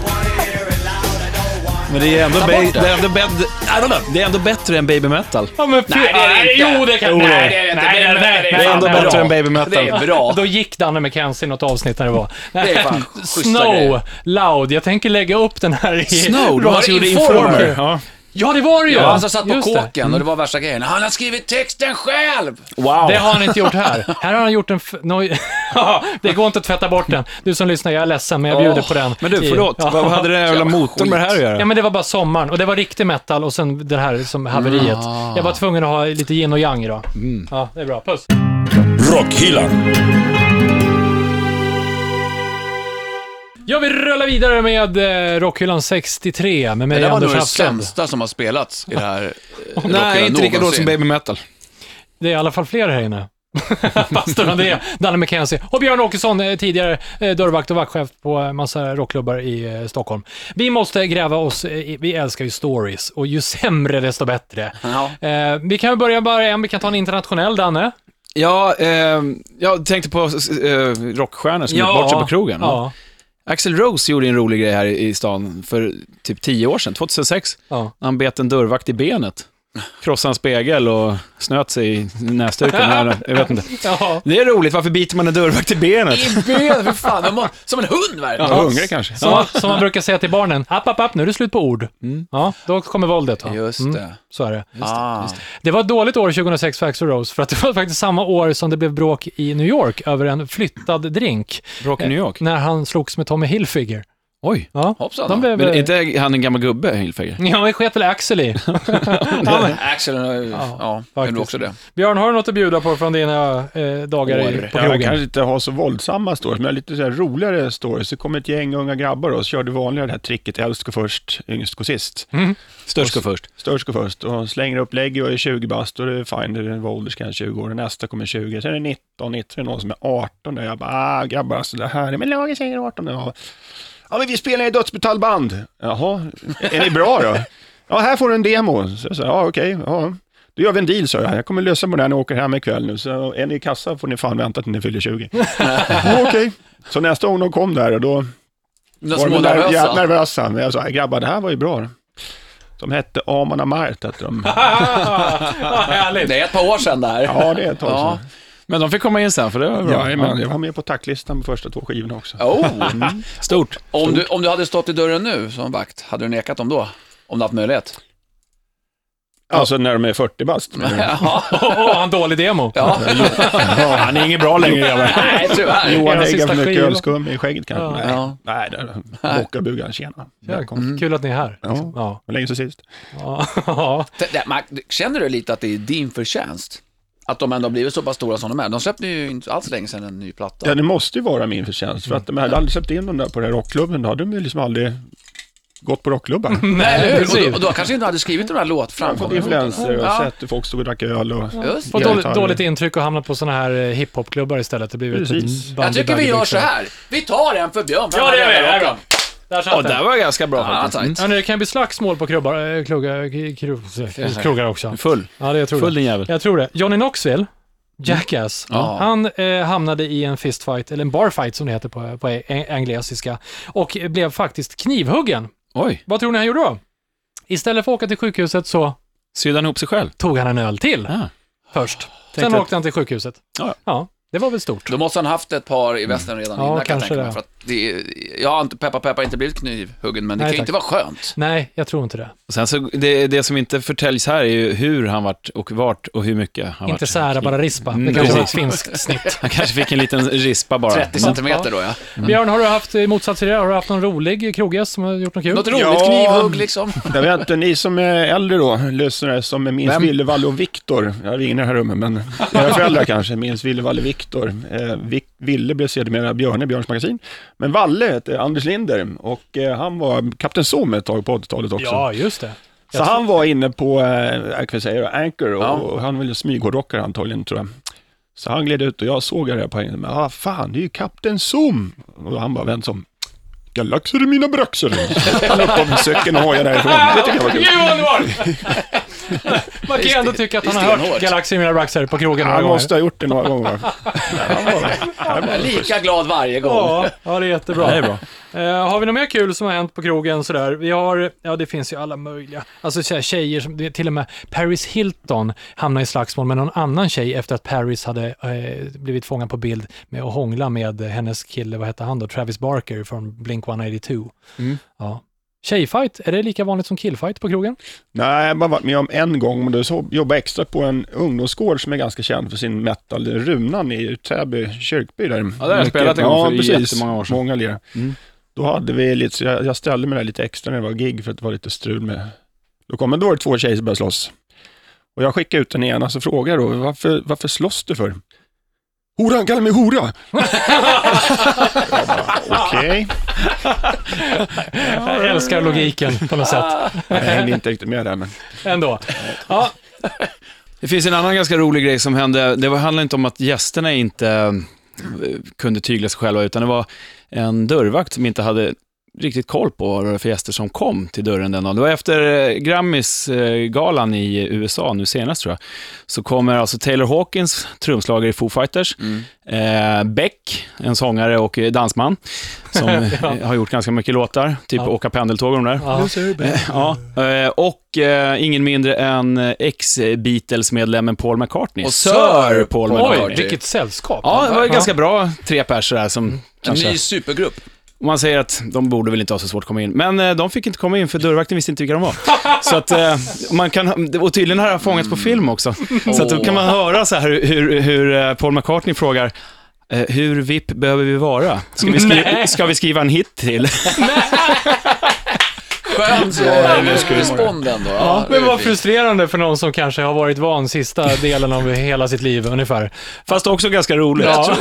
[SPEAKER 4] Men det är ändå, ba-
[SPEAKER 5] bort det.
[SPEAKER 4] det är ändå, bed- I don't know. det är ändå bättre än baby metal.
[SPEAKER 3] Ja, men fy-
[SPEAKER 5] Nej, det är det
[SPEAKER 3] Nej,
[SPEAKER 5] inte.
[SPEAKER 3] Jo, det kan...
[SPEAKER 4] Jo, det är
[SPEAKER 3] Nej,
[SPEAKER 4] det.
[SPEAKER 3] det är det inte.
[SPEAKER 5] Nej,
[SPEAKER 3] Nej,
[SPEAKER 5] det är
[SPEAKER 3] nej,
[SPEAKER 5] det inte.
[SPEAKER 3] nej,
[SPEAKER 4] Det är ändå
[SPEAKER 3] nej,
[SPEAKER 4] bättre
[SPEAKER 3] bra.
[SPEAKER 4] än baby
[SPEAKER 5] Det
[SPEAKER 4] metal.
[SPEAKER 5] är bra.
[SPEAKER 3] Då gick Danne McKenzie något avsnitt när det var.
[SPEAKER 5] Det är fan schyssta
[SPEAKER 3] Snow,
[SPEAKER 5] grejer.
[SPEAKER 3] Loud. Jag tänker lägga upp den här i...
[SPEAKER 4] Snow, det var han som gjorde
[SPEAKER 5] Informer.
[SPEAKER 4] Informer. Ja.
[SPEAKER 3] Ja, det var det ju!
[SPEAKER 5] Ja, han som satt på
[SPEAKER 3] Just det.
[SPEAKER 5] kåken och det var värsta grejen. Han har skrivit texten själv!
[SPEAKER 4] Wow.
[SPEAKER 3] Det har han inte gjort här. Här har han gjort en... F- noj- det går inte att tvätta bort den. Du som lyssnar, jag är ledsen, men jag bjuder på den.
[SPEAKER 4] Men du,
[SPEAKER 3] I-
[SPEAKER 4] förlåt.
[SPEAKER 3] Ja.
[SPEAKER 4] Vad vad hade den här jävla motorn med det här att göra?
[SPEAKER 3] Ja, men det var bara sommaren och det var riktig metal och sen det här som haveriet. Jag var tvungen att ha lite yin och yang idag.
[SPEAKER 4] Mm.
[SPEAKER 3] Ja, det är bra. Puss!
[SPEAKER 1] Rockhyllan.
[SPEAKER 3] Ja, vi rullar vidare med eh, Rockhyllan 63 med
[SPEAKER 5] Det
[SPEAKER 3] mig
[SPEAKER 5] där var nog
[SPEAKER 3] Anders
[SPEAKER 5] det
[SPEAKER 3] Hafslund.
[SPEAKER 5] sämsta som har spelats i det här eh,
[SPEAKER 4] Nej,
[SPEAKER 5] rocken
[SPEAKER 4] inte lika dåligt som
[SPEAKER 5] någonsin.
[SPEAKER 4] baby metal.
[SPEAKER 3] Det är i alla fall fler här inne. Pastor André, Danne McKenzie och Björn Åkesson, eh, tidigare eh, dörrvakt och vaktchef på en massa rockklubbar i eh, Stockholm. Vi måste gräva oss, eh, i- vi älskar ju stories och ju sämre desto bättre.
[SPEAKER 5] Ja.
[SPEAKER 3] Eh, vi kan väl börja bara en, vi kan ta en internationell Danne.
[SPEAKER 4] Ja, ehm, jag tänkte på eh, rockstjärnor som gjort bort sig på krogen.
[SPEAKER 3] Ja,
[SPEAKER 4] Axel Rose gjorde en rolig grej här i i stan för typ tio år sedan, 2006.
[SPEAKER 3] ja.
[SPEAKER 4] Han bet en dörrvakt i benet. krossade en spegel och snöt sig i näsduken. Nej, Jag vet inte.
[SPEAKER 3] Ja.
[SPEAKER 4] Det är roligt, varför biter man en dörrvakt i benet?
[SPEAKER 5] I ben, för fan. de har- Som en hund verkligen.
[SPEAKER 4] Ja, hungrig kanske.
[SPEAKER 3] Som, man- som man brukar säga till barnen, app, app, app, nu är det slut på ord. Ja, då kommer våldet. Va?
[SPEAKER 5] Just
[SPEAKER 3] Mm,
[SPEAKER 5] det.
[SPEAKER 3] så är det.
[SPEAKER 5] Ah.
[SPEAKER 3] Det var ett dåligt år 2006 för Axl Rose, för att det var faktiskt samma år som det blev bråk i New York över en flyttad drink, Eh,
[SPEAKER 4] Bråk i New York.
[SPEAKER 3] när han slogs med Tommy Hilfiger.
[SPEAKER 4] Oj.
[SPEAKER 3] Ja,
[SPEAKER 5] Hoppsan.
[SPEAKER 3] de blev... eh,
[SPEAKER 4] Men är inte han en gammal gubbe, Hilfiger?
[SPEAKER 3] Ja, men sket väl Axel i.
[SPEAKER 5] Axel, ja, ja det är
[SPEAKER 3] faktiskt.
[SPEAKER 5] väl också det.
[SPEAKER 3] Björn, har du något att bjuda på från dina eh, dagar i, på
[SPEAKER 6] Jag
[SPEAKER 3] krogen?
[SPEAKER 6] kanske inte har så våldsamma stories, men jag har lite så här roligare stories. Så kom ett gäng unga grabbar och så körde vanliga det här tricket, äldst går först, yngst går sist.
[SPEAKER 4] Störst går först.
[SPEAKER 6] Störst går först och slänger upp lägg och är 20 bast och det är fine, det var åldersgräns 20 år. Och Nästa kommer 20, sen är det 19, 19 är det någon som är 18 där. Jag bara, ah, grabbar alltså det här, är- men lagen säger 18. Ja, ja men vi spelar i dödsmetallband. Jaha, är ni bra då? Ja, här får du en demo. Så jag sa, ja okej, ja. Då gör vi en deal, sa jag. Jag kommer lösa på den här när jag åker hem ikväll nu. Så är ni i kassa får ni fan vänta till ni fyller 20. ja, okej. Så nästa gång de kom där, och då
[SPEAKER 5] De
[SPEAKER 6] var
[SPEAKER 5] små
[SPEAKER 6] de nerv- ja,
[SPEAKER 5] nervösa.
[SPEAKER 6] nervösa. Men jag sa, "Äh, grabbar det här var ju bra. De hette Aman Amart, hette de.
[SPEAKER 5] Det är ett par år sedan det här.
[SPEAKER 6] Ja, det är ett tag
[SPEAKER 5] Ja.
[SPEAKER 6] sedan.
[SPEAKER 4] Men de fick komma in sen, för det var bra.
[SPEAKER 6] Ja, men jag var med på tacklistan på första två skivorna också.
[SPEAKER 5] Oh.
[SPEAKER 4] Stort.
[SPEAKER 5] Om, du, om du hade stått i dörren nu som vakt, hade du nekat dem då? Om du haft möjlighet?
[SPEAKER 6] Alltså när de är 40 bast. Mm. Men,
[SPEAKER 3] Åh, oh, han dålig demo.
[SPEAKER 5] Ja,
[SPEAKER 6] ja, han är inget bra längre grabbar.
[SPEAKER 5] nej tyvärr.
[SPEAKER 6] Johan
[SPEAKER 3] Era
[SPEAKER 6] lägger
[SPEAKER 3] sista
[SPEAKER 6] för mycket
[SPEAKER 3] skiva.
[SPEAKER 6] ölskum i skägget kanske.
[SPEAKER 3] Ja.
[SPEAKER 6] Nej,
[SPEAKER 5] Ja. Mm.
[SPEAKER 6] nej där. Bockabugan, tjena. Välkommen.
[SPEAKER 3] Kul att ni är här.
[SPEAKER 6] Ja.
[SPEAKER 3] Ja.
[SPEAKER 6] Hur länge sen sist?
[SPEAKER 3] Ja. ja.
[SPEAKER 5] Det- det- Mark, Känner du lite att det är din förtjänst? Att de ändå har blivit så pass stora som de är. De släppte ju inte alls länge sedan en ny platta.
[SPEAKER 6] Ja, det måste ju vara min förtjänst. För att de hade aldrig släppt in dem där på den här rockklubben, då hade de ju liksom aldrig gått på rockklubbar.
[SPEAKER 5] Nej, eller hur? Och,
[SPEAKER 3] precis.
[SPEAKER 5] då- och då kanske inte hade skrivit de här låt
[SPEAKER 6] Jag har fått influenser och
[SPEAKER 5] Ja.
[SPEAKER 6] sett hur folk stod och drack öl och...
[SPEAKER 5] Just
[SPEAKER 3] Får
[SPEAKER 5] det.
[SPEAKER 6] Ja.
[SPEAKER 3] dåligt, dåligt intryck och hamnar på sådana här eh, hiphopklubbar istället. Det blir ett
[SPEAKER 6] Precis.
[SPEAKER 3] bandy-
[SPEAKER 5] Jag tycker vi gör
[SPEAKER 3] baggy-byxor.
[SPEAKER 5] så här. Vi tar en för Björn.
[SPEAKER 3] Ja, det gör vi. Där går den. Där
[SPEAKER 4] Ja,
[SPEAKER 3] satt
[SPEAKER 4] det
[SPEAKER 3] den.
[SPEAKER 4] var ganska bra
[SPEAKER 5] Ja,
[SPEAKER 4] faktiskt. Mm.
[SPEAKER 5] tajt.
[SPEAKER 3] Ja, nu, det kan bli slagsmål på klubbar, eh, kluggar, k- krog- krogar också.
[SPEAKER 4] Full.
[SPEAKER 3] Ja, det jag tror
[SPEAKER 4] Full
[SPEAKER 3] det.
[SPEAKER 4] din jävel.
[SPEAKER 3] Jag tror det. Johnny Knoxville, Jackass, han eh, hamnade i en fistfight, eller en barfight som det heter på, på eng- engelsiska, och blev faktiskt knivhuggen.
[SPEAKER 4] Oj.
[SPEAKER 3] Vad tror ni han gjorde då? Istället för att åka till sjukhuset så
[SPEAKER 4] Sydde han ihop sig själv?
[SPEAKER 3] tog han en öl till
[SPEAKER 4] Ah.
[SPEAKER 3] först. Sen
[SPEAKER 4] Tänkte att-
[SPEAKER 3] åkte han till sjukhuset.
[SPEAKER 4] Ja.
[SPEAKER 3] ja, det var väl stort.
[SPEAKER 5] Då måste han haft ett par i västen redan
[SPEAKER 3] Ja,
[SPEAKER 5] innan kan jag
[SPEAKER 3] kanske
[SPEAKER 5] tänka mig.
[SPEAKER 3] det.
[SPEAKER 5] För att det är, jag har inte, peppa peppa, inte blivit knivhuggen, men det
[SPEAKER 3] Nej,
[SPEAKER 5] kan ju
[SPEAKER 3] tack.
[SPEAKER 5] inte vara skönt.
[SPEAKER 3] Nej, jag tror inte det.
[SPEAKER 4] Och sen så, det, det som inte förtäljs här är ju hur han vart och vart och hur mycket han
[SPEAKER 3] Inte
[SPEAKER 4] vart.
[SPEAKER 3] sära, bara rispa. Det
[SPEAKER 4] Mm,
[SPEAKER 3] kanske var ett
[SPEAKER 4] precis.
[SPEAKER 3] finskt snitt.
[SPEAKER 4] Han kanske fick en liten rispa bara.
[SPEAKER 5] 30 centimeter då ja.
[SPEAKER 3] Björn, har du haft, i motsats till det, har du haft någon rolig kroggäst som har gjort något kul?
[SPEAKER 5] Något roligt
[SPEAKER 6] Ja.
[SPEAKER 5] knivhugg liksom.
[SPEAKER 6] Jag vet inte, ni som är äldre då, lyssnare som minns
[SPEAKER 4] Vem?
[SPEAKER 6] Villevalle och Viktor. Jag har ingen i det här rummet, men era föräldrar kanske minns Villevalle och Viktor. Eh, Vic, Ville blev sedermera Björne, Björns magasin. Men Valle hette Anders Linder och eh, han var Kapten Zoom ett tag på 80-talet också.
[SPEAKER 3] Ja, just det.
[SPEAKER 6] Så han var inne på, eh, jag kan säga, Anchor och, och han ville smyghårdrockare antagligen tror jag. Så han gled ut och jag såg det där på en, men ah, fan det är ju Kapten Zoom. Och han bara, vem som? Galaxer är mina braxer. Han upp av säcken och hojade därifrån. Det tycker jag var kul.
[SPEAKER 3] Man kan ju ändå tycka att
[SPEAKER 5] det är
[SPEAKER 3] han har hört
[SPEAKER 5] stenhårt.
[SPEAKER 3] Galaxy Mina Raxer på krogen några
[SPEAKER 6] Han
[SPEAKER 3] gånger.
[SPEAKER 6] måste ha gjort det några gånger. Han var- han var-
[SPEAKER 5] Lika glad varje gång.
[SPEAKER 3] Ja, ja, det är jättebra.
[SPEAKER 4] Det är bra.
[SPEAKER 3] Eh, har vi något mer kul som har hänt på krogen sådär? Vi har, ja det finns ju alla möjliga. Alltså så här, tjejer som, det är till och med Paris Hilton hamnade i slagsmål med någon annan tjej efter att Paris hade eh, blivit fångad på bild med att hångla med eh, hennes kille, vad hette han då, Travis Barker från Blink 182.
[SPEAKER 4] Mm.
[SPEAKER 3] Ja. Tjejfight, är det lika vanligt som killfight på krogen?
[SPEAKER 6] Nej, jag har bara varit med om en gång, men då så- jobbade jag extra på en ungdomsgård som är ganska känd för sin metal, Runan i Täby kyrkby. Där.
[SPEAKER 4] Ja, där har jag
[SPEAKER 6] Mycket-
[SPEAKER 4] spelat en gång
[SPEAKER 6] ja,
[SPEAKER 4] för
[SPEAKER 6] precis.
[SPEAKER 4] jättemånga år sedan. Mm.
[SPEAKER 6] Många lir. Då hade vi lite, så jag, jag ställde mig där lite extra när det var gig för att det var lite strul med då kom, men då var det två tjejer som började slåss. Och jag skickade ut den ena, så frågade jag då, varför, varför slåss du för? Horan kallar mig hora! Jag bara, Okej,
[SPEAKER 3] Jag älskar logiken på något sätt,
[SPEAKER 6] jag hängde inte riktigt med där. Men...
[SPEAKER 3] ändå. Ja,
[SPEAKER 4] Det finns en annan ganska rolig grej som hände. Det var- handlade inte om att gästerna inte eh, kunde tygla sig själva, utan det var en dörrvakt som inte hade riktigt koll på vad det var för gäster som kom till dörren den dagen. Det var efter eh, Grammis-galan i USA nu senast tror jag. Så kommer alltså Taylor Hawkins, trumslagare i Foo Fighters, eh, Beck, en sångare och eh, dansman, som eh, har gjort ganska mycket låtar, typ Åka pendeltåg och de där.
[SPEAKER 3] Ja.
[SPEAKER 4] Ja, eh, och eh, ingen mindre än eh, ex-Beatles-medlemmen Paul McCartney.
[SPEAKER 5] Och Sir
[SPEAKER 4] Paul
[SPEAKER 5] Paul
[SPEAKER 4] McCartney.
[SPEAKER 3] Oj, vilket sällskap.
[SPEAKER 4] Ja, det var ju ganska bra tre pers där som
[SPEAKER 5] Mm. En
[SPEAKER 4] kanske...
[SPEAKER 5] ny supergrupp.
[SPEAKER 4] Man säger att de borde väl inte ha så svårt att komma in, men eh, de fick inte komma in för dörrvakten visste inte vilka de var. Så att eh, man kan, och tydligen har det här fångats på film också. Så att då kan man höra så här hur, hur, hur eh, Paul McCartney frågar, eh, hur VIP behöver vi vara? Ska vi, skri- ska vi skriva en hit till?
[SPEAKER 5] Skönt eh, respond ändå. Ja,
[SPEAKER 3] Men
[SPEAKER 5] det
[SPEAKER 3] vad
[SPEAKER 5] är fint.
[SPEAKER 3] frustrerande för någon som kanske har varit van sista delen av hela sitt liv ungefär.
[SPEAKER 4] Fast också ganska roligt.
[SPEAKER 5] Jag tror,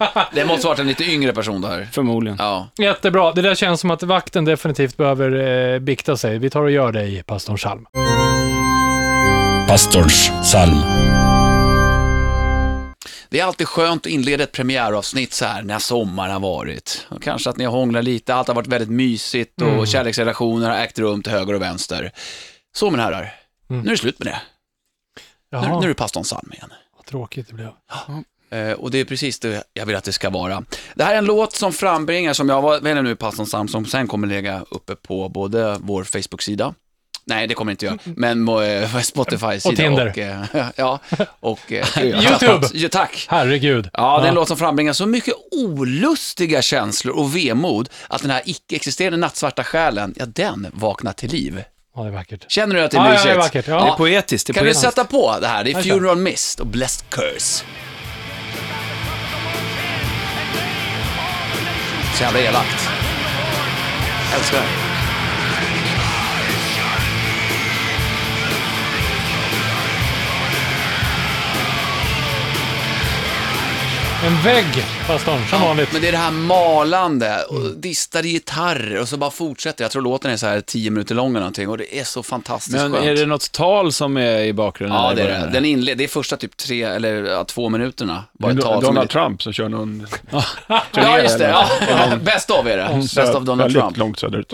[SPEAKER 5] ja, det måste varit en lite yngre person det här.
[SPEAKER 4] Förmodligen.
[SPEAKER 5] Ja.
[SPEAKER 3] Jättebra. Det där känns som att vakten definitivt behöver eh, bikta sig. Vi tar och gör det i pastorns psalm.
[SPEAKER 1] Pastors psalm.
[SPEAKER 5] Det är alltid skönt att inleda ett premiäravsnitt så här när sommaren har varit. Och kanske att ni har hånglat lite, allt har varit väldigt mysigt och kärleksrelationer har ägt rum till höger och vänster. Så mina herrar, nu är det slut med det. Nu,
[SPEAKER 3] Jaha,
[SPEAKER 5] nu är det pastorns psalm igen.
[SPEAKER 3] vad tråkigt det blev.
[SPEAKER 5] Eh, och det är precis det jag vill att det ska vara. Det här är en låt som frambringar, som jag var väljer nu, pastorns psalm, som sen kommer lägga uppe på både vår Facebook-sida, nej det kommer inte jag, men eh, Spotify-sida.
[SPEAKER 3] Och Tinder.
[SPEAKER 5] eh, ja, och eh,
[SPEAKER 3] YouTube.
[SPEAKER 5] Ja, tack.
[SPEAKER 3] Herregud.
[SPEAKER 5] Ja, det är en låt som frambringar så mycket olustiga känslor och vemod att den här icke-existerande nattsvarta själen, ja den vaknar till liv.
[SPEAKER 3] Ja, det är vackert.
[SPEAKER 5] Känner du att det
[SPEAKER 3] Ja,
[SPEAKER 5] är
[SPEAKER 3] ja,
[SPEAKER 5] mysigt?
[SPEAKER 3] det är vackert, ja.
[SPEAKER 4] Det är poetiskt. Det är
[SPEAKER 5] Kan du
[SPEAKER 4] poetiskt.
[SPEAKER 5] sätta på det här? Det är
[SPEAKER 3] kör.
[SPEAKER 5] Funeral Mist och Blessed Curse. Så jävla elakt. Älskar det.
[SPEAKER 3] En vägg, pastorn, som vanligt.
[SPEAKER 5] Men det är det här malande, och distade gitarrer och så bara fortsätter Jag tror låten är så här 10 minuter lång eller någonting och det är så fantastiskt
[SPEAKER 4] Men
[SPEAKER 5] skönt.
[SPEAKER 4] är det något tal som är i bakgrunden?
[SPEAKER 5] Ja,
[SPEAKER 4] där i
[SPEAKER 5] det är
[SPEAKER 4] början?
[SPEAKER 5] det. Den inled, det är första typ tre, eller ja, två minuterna. Bara ett tal som
[SPEAKER 6] Donald
[SPEAKER 5] är-
[SPEAKER 6] Trump som kör någon...
[SPEAKER 5] Ja, just det. Ja. Bäst av är det. Bäst av Donald
[SPEAKER 6] väldigt
[SPEAKER 5] Trump. Eh,
[SPEAKER 6] långt söderut.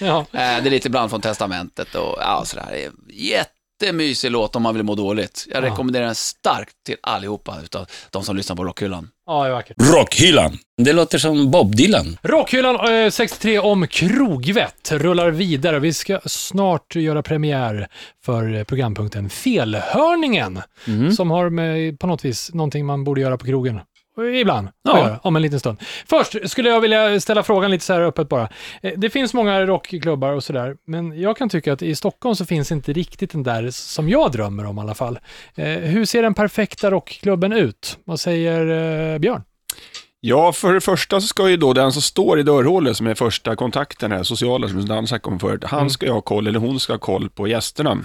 [SPEAKER 3] Ja.
[SPEAKER 5] Det är lite ibland från testamentet och ja, sådär. Det är en Jättemysig låt om man vill må dåligt. Jag rekommenderar den starkt till allihopa utav de som lyssnar på Rockhyllan.
[SPEAKER 3] ja, det är vackert.
[SPEAKER 1] Rockhyllan. Det låter som Bob Dylan.
[SPEAKER 3] Rockhyllan eh, 63 om krogvett rullar vidare. Vi ska snart göra premiär för eh, programpunkten Felhörningen,
[SPEAKER 1] Mm.
[SPEAKER 3] som har med, på något vis, någonting man borde göra på krogen. Eh, Ibland, ja. göra, om en liten stund. Först skulle jag vilja ställa frågan lite så här öppet bara. Eh, Det finns många rockklubbar och sådär, men jag kan tycka att i Stockholm så finns inte riktigt den där som jag drömmer om i alla fall. Eh, Hur ser den perfekta rockklubben ut? Vad säger eh, Björn?
[SPEAKER 6] Ja, för det första så ska ju då den som står i dörrhålet, som är första kontakten här, sociala som Dan snackade om förut,
[SPEAKER 5] Mm.
[SPEAKER 6] han ska ju ha koll, eller hon ska ha koll på gästerna.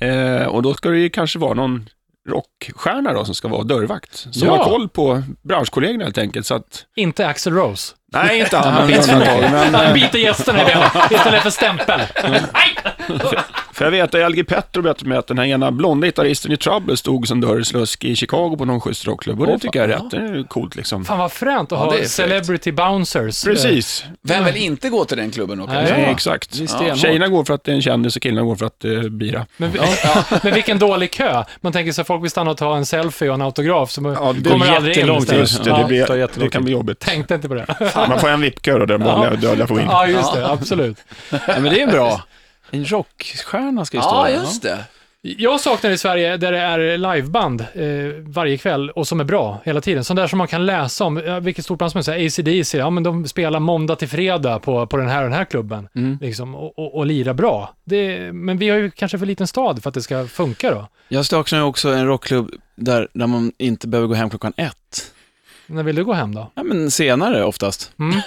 [SPEAKER 6] Eh, och då ska det ju kanske vara någon rockstjärna då som ska vara dörrvakt. Som
[SPEAKER 3] Ja.
[SPEAKER 6] har koll på branschkollegorna helt enkelt. Så att,
[SPEAKER 3] Inte Axel Rose.
[SPEAKER 6] nej, inte han, men undantag, men,
[SPEAKER 3] Han biter gästerna i benen istället för stämpel.
[SPEAKER 6] För jag vet att LG Petro berättade med att den här ena blonda gitarristen i Trouble stod som dörrslusk i Chicago på någon schysst rockklubb. Och det tycker jag är rätt. Det är ju coolt liksom.
[SPEAKER 3] Fan vad fränt att
[SPEAKER 5] det är
[SPEAKER 3] ha
[SPEAKER 5] fräckt.
[SPEAKER 3] celebrity bouncers. Eh,
[SPEAKER 6] Precis.
[SPEAKER 5] Vem vill inte gå till den klubben och kanske?
[SPEAKER 6] Nej, exakt.
[SPEAKER 4] stenhårt.
[SPEAKER 6] Tjejerna går för att det är en kändis och killarna går för att det är bira.
[SPEAKER 3] Men, vi- men vilken dålig kö. Man tänker sig att folk vill stanna och ta en selfie och en autograf som
[SPEAKER 6] det
[SPEAKER 3] kommer aldrig in.
[SPEAKER 4] jättelång
[SPEAKER 3] istället.
[SPEAKER 4] tid.
[SPEAKER 6] Just det, det,
[SPEAKER 3] Ja,
[SPEAKER 4] tar
[SPEAKER 6] blir,
[SPEAKER 4] jättelång
[SPEAKER 6] det kan bli jobbigt.
[SPEAKER 3] tänkte inte på det.
[SPEAKER 6] Man får en VIP-kö då, den vanliga dödliga får in.
[SPEAKER 3] Ja, just det. Absolut.
[SPEAKER 4] Ja, men det är bra. En rockstjärna ska ju stå
[SPEAKER 5] Ja,
[SPEAKER 4] där,
[SPEAKER 5] just det.
[SPEAKER 3] Jag saknar i Sverige där det är liveband eh, varje kväll och som är bra hela tiden. Sånt där som man kan läsa om, eh, vilket stort band som helst, ACDC, ja men de spelar måndag till fredag på, på den här och den här klubben.
[SPEAKER 4] Mm.
[SPEAKER 3] Liksom, och, och, och lirar bra. Det, men vi har ju kanske för liten stad för att det ska funka då.
[SPEAKER 4] Jag saknar ju också en rockklubb där, där man inte behöver gå hem klockan ett.
[SPEAKER 3] När vill du gå hem då?
[SPEAKER 4] Ja, men senare oftast.
[SPEAKER 6] Mm.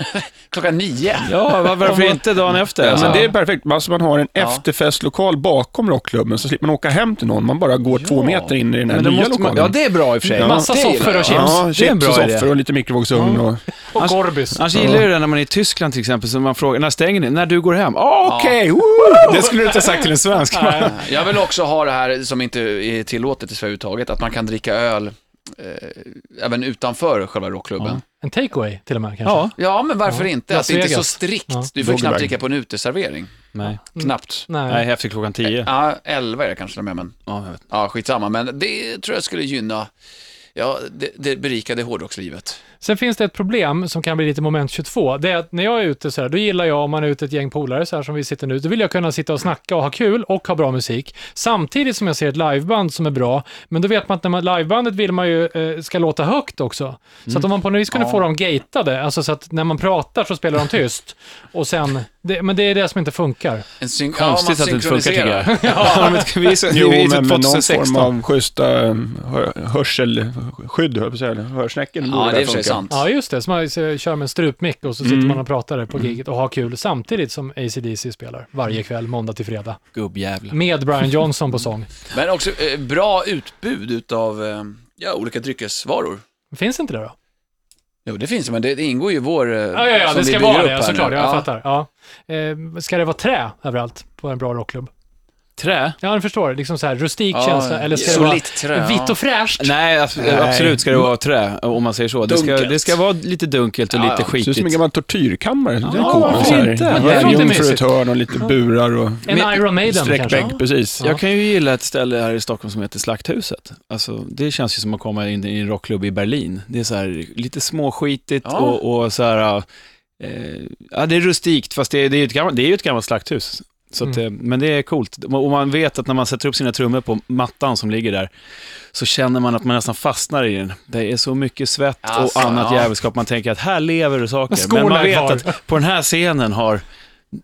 [SPEAKER 5] Klockan nio.
[SPEAKER 4] Ja, var- varför inte dagen efter?
[SPEAKER 6] Men
[SPEAKER 4] Alltså,
[SPEAKER 6] det är perfekt. Alltså man har en efterfestlokal bakom rockklubben, så slipper man åka hem till någon. Man bara går två meter in i den här
[SPEAKER 4] men då
[SPEAKER 6] nya
[SPEAKER 4] måste
[SPEAKER 6] lokalen.
[SPEAKER 4] man, ja, det är bra i och för sig.
[SPEAKER 6] Ja.
[SPEAKER 3] Massa
[SPEAKER 4] Det gillar
[SPEAKER 3] soffor
[SPEAKER 4] jag.
[SPEAKER 3] och chips.
[SPEAKER 6] Ja,
[SPEAKER 4] det är en
[SPEAKER 6] chips och
[SPEAKER 4] bra idé.
[SPEAKER 6] soffor och lite mikrovågsugn. Och...
[SPEAKER 3] Och Gorbis.
[SPEAKER 4] Annars gillar jag ju det när man är i Tyskland till exempel, så man frågar, när stänger ni? När du går hem? Ah, Okej, woo! Det skulle du inte ha sagt till en svensk.
[SPEAKER 5] Jag vill också ha det här som inte är tillåtet i Sverige överhuvudtaget, att man kan dricka öl eh, även utanför själva rockklubben.
[SPEAKER 3] En takeaway till och med kanske?
[SPEAKER 4] Ja.
[SPEAKER 5] Ja, men varför
[SPEAKER 3] Ja,
[SPEAKER 5] inte?
[SPEAKER 3] Las
[SPEAKER 5] Att det inte är så
[SPEAKER 3] Vegas.
[SPEAKER 5] strikt.
[SPEAKER 3] Ja.
[SPEAKER 5] Du får knappt
[SPEAKER 6] Bag.
[SPEAKER 5] dricka på en uteservering.
[SPEAKER 4] Nej.
[SPEAKER 5] Knappt.
[SPEAKER 3] Nej.
[SPEAKER 4] Nej, efter klockan tio.
[SPEAKER 5] Ja, 11 är det kanske till och med, men
[SPEAKER 4] Ja, jag vet.
[SPEAKER 5] ja, skitsamma. Men det tror jag skulle gynna ja, det, det berikade hårdrockslivet.
[SPEAKER 3] Sen finns det ett problem som kan bli lite moment 22. Det är att när jag är ute så här, då gillar jag om man är ute ett gäng polare så här som vi sitter nu, då vill jag kunna sitta och snacka och ha kul och ha bra musik. Samtidigt som jag ser ett liveband som är bra, men då vet man att när man, livebandet vill man ju eh, ska låta högt också. Så att om man på något vis kunde få dem gatade, alltså så att när man pratar så spelar de tyst. Och sen, det, men det är det som inte funkar.
[SPEAKER 5] En syn-
[SPEAKER 4] Konstigt
[SPEAKER 5] ja, man
[SPEAKER 4] att det inte funkar tycker
[SPEAKER 5] synkroniserar.
[SPEAKER 4] jag. Ja, men vi är typ så,
[SPEAKER 6] Jo,
[SPEAKER 4] vi är
[SPEAKER 6] men
[SPEAKER 4] så
[SPEAKER 6] med någon form
[SPEAKER 4] 2016.
[SPEAKER 6] av schyssta eh, hör- hörselskydd, höll jag på att säga. Hörsnäcken
[SPEAKER 5] Ja,
[SPEAKER 6] borde
[SPEAKER 5] det är i och
[SPEAKER 6] väl
[SPEAKER 5] för sig
[SPEAKER 6] funka.
[SPEAKER 5] sant.
[SPEAKER 3] Ja, just det. Så man så kör med en strupmick och så sitter man och pratar där på giget och har kul samtidigt som ACDC spelar varje kväll, måndag till fredag.
[SPEAKER 5] Gubbjävla.
[SPEAKER 3] Med Brian Johnson på sång.
[SPEAKER 5] Men också eh, bra utbud utav eh, ja, olika dryckesvaror.
[SPEAKER 3] Finns inte det då?
[SPEAKER 5] Jo, det finns men det, det ingår ju i vår... eh,
[SPEAKER 3] Ja, ja, ja
[SPEAKER 5] som
[SPEAKER 3] det
[SPEAKER 5] vi
[SPEAKER 3] ska
[SPEAKER 5] bygger
[SPEAKER 3] vara
[SPEAKER 5] upp
[SPEAKER 3] det,
[SPEAKER 5] här
[SPEAKER 3] såklart.
[SPEAKER 5] nu.
[SPEAKER 3] Jag fattar. Ja. Eh, ska det vara trä överallt på en bra rockklubb?
[SPEAKER 4] Trä?
[SPEAKER 3] Ja, jag förstår. Liksom så här rustik
[SPEAKER 5] Ja,
[SPEAKER 3] känsla, eller ska det vara
[SPEAKER 5] solitt trä,
[SPEAKER 3] vitt
[SPEAKER 5] ja.
[SPEAKER 3] och fräscht?
[SPEAKER 4] Nej, abs- absolut ska det vara trä, om man säger så. Det ska,
[SPEAKER 5] Dunkelt.
[SPEAKER 4] det ska vara lite dunkelt och
[SPEAKER 5] Ja,
[SPEAKER 4] lite
[SPEAKER 5] ja.
[SPEAKER 6] Det ser ut som en
[SPEAKER 4] skitigt.
[SPEAKER 6] gammal tortyrkammare. det är
[SPEAKER 3] Ja,
[SPEAKER 6] coolt.
[SPEAKER 3] varför
[SPEAKER 6] Så här,
[SPEAKER 4] inte?
[SPEAKER 6] en
[SPEAKER 4] Det
[SPEAKER 3] låter
[SPEAKER 6] Värjon för
[SPEAKER 3] mysigt.
[SPEAKER 6] ett hörn och lite burar och
[SPEAKER 3] En Iron Maiden kanske?
[SPEAKER 6] sträckbänk, precis.
[SPEAKER 4] Jag kan ju gilla ett ställe här i Stockholm som heter Slakthuset. Alltså, det känns ju som att komma in i en rockklubb i Berlin. Det är så här lite småskitigt
[SPEAKER 5] Ja.
[SPEAKER 4] och, och så här, eh, ja det är rustikt, fast det, det är ju ett gammalt, det är ju ett gammalt slakthus. Så att,
[SPEAKER 5] Mm.
[SPEAKER 4] eh, Men det är coolt. Och man vet att när man sätter upp sina trummor på mattan som ligger där, så känner man att man nästan fastnar i den. Det är så mycket svett
[SPEAKER 5] Alltså,
[SPEAKER 4] och annat
[SPEAKER 5] ja.
[SPEAKER 4] jävelskap. Man tänker att här lever det saker.
[SPEAKER 3] Skålar
[SPEAKER 4] Men man vet
[SPEAKER 3] kvar.
[SPEAKER 4] att på den här scenen har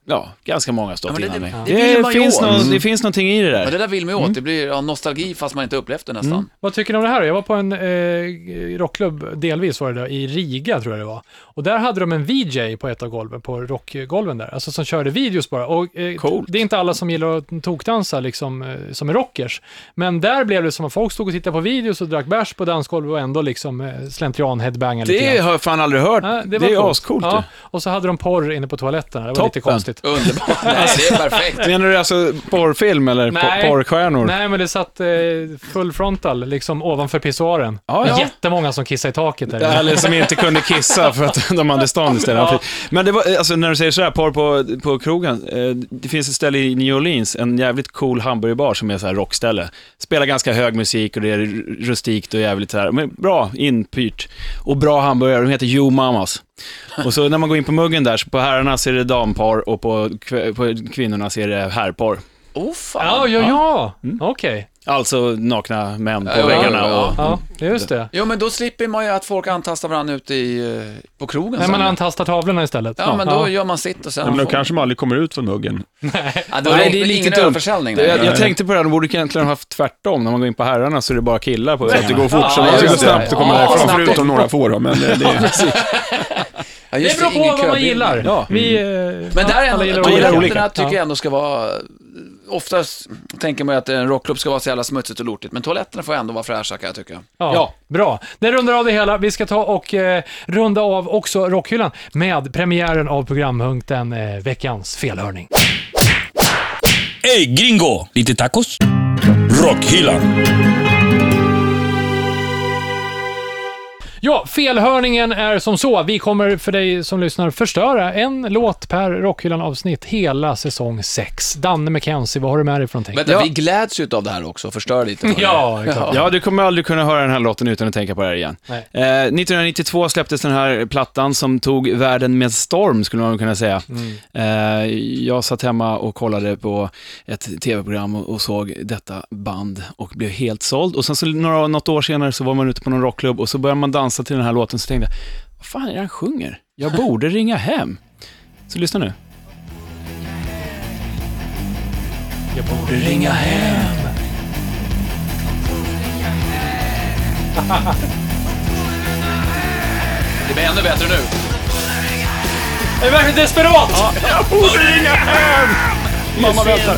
[SPEAKER 4] ja, ganska många stått
[SPEAKER 5] Ja, men det-
[SPEAKER 4] innan mig.
[SPEAKER 5] det- det vill man ju
[SPEAKER 4] finns
[SPEAKER 5] åt.
[SPEAKER 4] någon, det finns någonting i det där.
[SPEAKER 5] Ja, det där vill man
[SPEAKER 4] Mm.
[SPEAKER 5] ju åt. Det blir ja, nostalgi fast man inte upplevt det nästan.
[SPEAKER 3] Vad tycker ni om det här? Jag var på en eh, rockklubb, delvis var det där, i Riga tror jag det var. Och där hade de en VJ på ett av golven, på rockgolven där, alltså som körde videos bara. Och, eh,
[SPEAKER 4] Coolt.
[SPEAKER 3] Det är inte alla som gillar att tokdansa liksom, eh, som är rockers. Men där blev det som att folk stod och tittade på videos och drack bärs på dansgolvet och ändå liksom eh, slentrian-headbangade lite
[SPEAKER 4] Det
[SPEAKER 3] grann.
[SPEAKER 4] har jag fan aldrig hört.
[SPEAKER 3] Ja,
[SPEAKER 4] det,
[SPEAKER 3] var
[SPEAKER 4] är
[SPEAKER 3] coolt.
[SPEAKER 4] ascoolt
[SPEAKER 3] ja.
[SPEAKER 4] ja.
[SPEAKER 3] Och så hade de porr inne på toaletterna, det var lite
[SPEAKER 4] Toppen.
[SPEAKER 3] konstigt.
[SPEAKER 5] Underbart. Nej, det är perfekt.
[SPEAKER 4] Menar du alltså porrfilm eller
[SPEAKER 3] Nej.
[SPEAKER 4] po- porrstjärnor?
[SPEAKER 3] Nej, men det satt eh, full frontal liksom ovanför pissoaren.
[SPEAKER 4] Ja, ja.
[SPEAKER 3] Jättemånga som kissade i taket där.
[SPEAKER 4] Eller som inte kunde kissa för att de hade stan istället.
[SPEAKER 3] Ja.
[SPEAKER 4] Men det var, alltså, när du säger sådär, porr på, på krogen. Eh, det finns ett ställe i New Orleans, en jävligt cool hamburgerbar som är så här rockställe. Spelar ganska hög musik och det är r- rustikt och jävligt så här. Men bra inpyrt. Och bra hamburgare, de heter Yo Mamas. Och så när man går in på muggen där, så på herrarna så är det dampar och på, kv- på kvinnorna så är det herrpar.
[SPEAKER 5] Åh Oh, fan.
[SPEAKER 3] Ja, ja, ja. Okej.
[SPEAKER 4] Alltså nakna män på
[SPEAKER 5] Ja, ja,
[SPEAKER 4] väggarna
[SPEAKER 5] ja, ja.
[SPEAKER 4] och...
[SPEAKER 3] Ja, just det.
[SPEAKER 5] Jo, men då slipper man ju att folk antastar varandra ute i, eh, på krogen.
[SPEAKER 3] Nej,
[SPEAKER 5] sen.
[SPEAKER 3] man antastar tavlorna istället.
[SPEAKER 5] ja, men då gör man sitt och sen...
[SPEAKER 6] Ja, men då
[SPEAKER 5] får-
[SPEAKER 6] kanske man aldrig kommer ut från muggen.
[SPEAKER 5] ja, då
[SPEAKER 4] Nej,
[SPEAKER 5] det är lite ingen
[SPEAKER 4] dumt.
[SPEAKER 5] överförsäljning. där.
[SPEAKER 4] Jag, jag tänkte på det här, de borde egentligen ha haft tvärtom. När man går in på herrarna så är det bara killar på
[SPEAKER 6] Det går
[SPEAKER 4] väggarna.
[SPEAKER 6] fort så
[SPEAKER 5] Ja,
[SPEAKER 6] man ska
[SPEAKER 5] just det.
[SPEAKER 6] snabbt och komma
[SPEAKER 5] Ja,
[SPEAKER 6] därifrån,
[SPEAKER 5] snabbt.
[SPEAKER 6] förutom några få då. Men det, det,
[SPEAKER 5] Ja,
[SPEAKER 3] Det
[SPEAKER 5] just
[SPEAKER 3] beror
[SPEAKER 5] ingen
[SPEAKER 3] på vad man
[SPEAKER 5] köbild.
[SPEAKER 3] gillar.
[SPEAKER 4] Ja.
[SPEAKER 3] Vi, eh,
[SPEAKER 5] Men där
[SPEAKER 3] alla
[SPEAKER 5] är ändå,
[SPEAKER 3] olika.
[SPEAKER 5] toaletterna tycker jag
[SPEAKER 3] Ja.
[SPEAKER 5] ändå ska vara... Oftast tänker man ju att en rockklubb ska vara så jävla smutsigt och lortigt, men toaletterna får ändå vara fräscha kan jag tycka.
[SPEAKER 3] Ja,
[SPEAKER 4] Ja.
[SPEAKER 3] Bra. Det rundar av det hela. Vi ska ta och eh, runda av också Rockhyllan med premiären av programpunkten eh, Veckans felhörning.
[SPEAKER 1] ¡Ey, gringo! ¿Lite tacos? Rockhyllan.
[SPEAKER 3] Ja, felhörningen är som så. Vi kommer för dig som lyssnar förstöra en låt per Rockhyllan-avsnitt hela säsong 6. Danne McKenzie, vad har du med dig för någonting?
[SPEAKER 5] Vänta, vi gläds ju utav det här också och förstör lite. för
[SPEAKER 3] Ja,
[SPEAKER 5] det.
[SPEAKER 3] exakt.
[SPEAKER 4] Ja, du kommer aldrig kunna höra den här låten utan att tänka på det här igen.
[SPEAKER 3] Nej.
[SPEAKER 4] Eh, 1992 släpptes den här plattan som tog världen med storm, skulle man kunna säga. Eh, jag satt hemma och kollade på ett tv-program och, och såg detta band och blev helt såld. Och sen så några, något år senare så var man ute på någon rockklubb och så började man dansa till den här låten, så tänkte jag, vad fan är det han sjunger? Jag borde ringa hem. Så lyssna nu.
[SPEAKER 5] Det blir ännu bättre nu.
[SPEAKER 3] Jag är verkligen desperat!
[SPEAKER 4] Mamma väntar!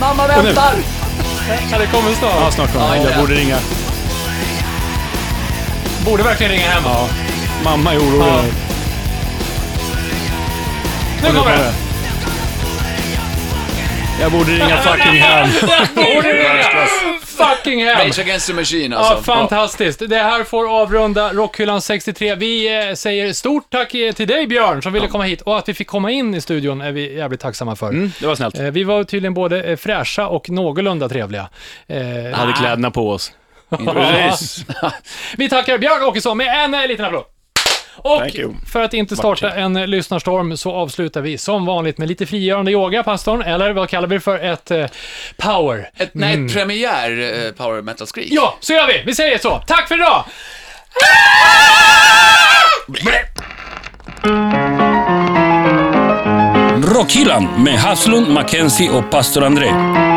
[SPEAKER 5] Mamma väntar!
[SPEAKER 3] Ja, det kommer snart.
[SPEAKER 4] Ja, snart kommer han. Jag borde ringa.
[SPEAKER 3] Borde verkligen ringa hem.
[SPEAKER 4] Ja. Mamma är orolig.
[SPEAKER 3] Ja. Nu kommer den!
[SPEAKER 4] Jag borde ringa fucking hem.
[SPEAKER 3] Borde ringa! fucking hell!
[SPEAKER 5] Rage Against the Machine
[SPEAKER 3] Ja,
[SPEAKER 5] alltså.
[SPEAKER 3] fantastiskt. Det här får avrunda Rockhyllan 63. Vi eh, säger stort tack eh, till dig Björn som ville komma hit och att vi fick komma in i studion är vi jävligt tacksamma för.
[SPEAKER 6] Mm.
[SPEAKER 4] Det var snällt.
[SPEAKER 3] Eh, Vi var tydligen både eh, fräscha och någorlunda trevliga. Eh,
[SPEAKER 4] Hade kläderna på oss.
[SPEAKER 6] Precis.
[SPEAKER 3] Vi tackar Björn Åkesson med en eh, liten applåd. Och
[SPEAKER 6] Thank you.
[SPEAKER 3] för att inte starta en eh, lyssnarstorm så avslutar vi som vanligt med lite frigörande yoga, pastorn, eller vad kallar vi det för? Ett eh, power.
[SPEAKER 5] Ett, nej, ett premiär eh, power metal-skrik.
[SPEAKER 3] Ja, så gör vi! Vi säger så. Tack för idag!
[SPEAKER 1] Rockhyllan med Haslund, Mackenzie och pastor André.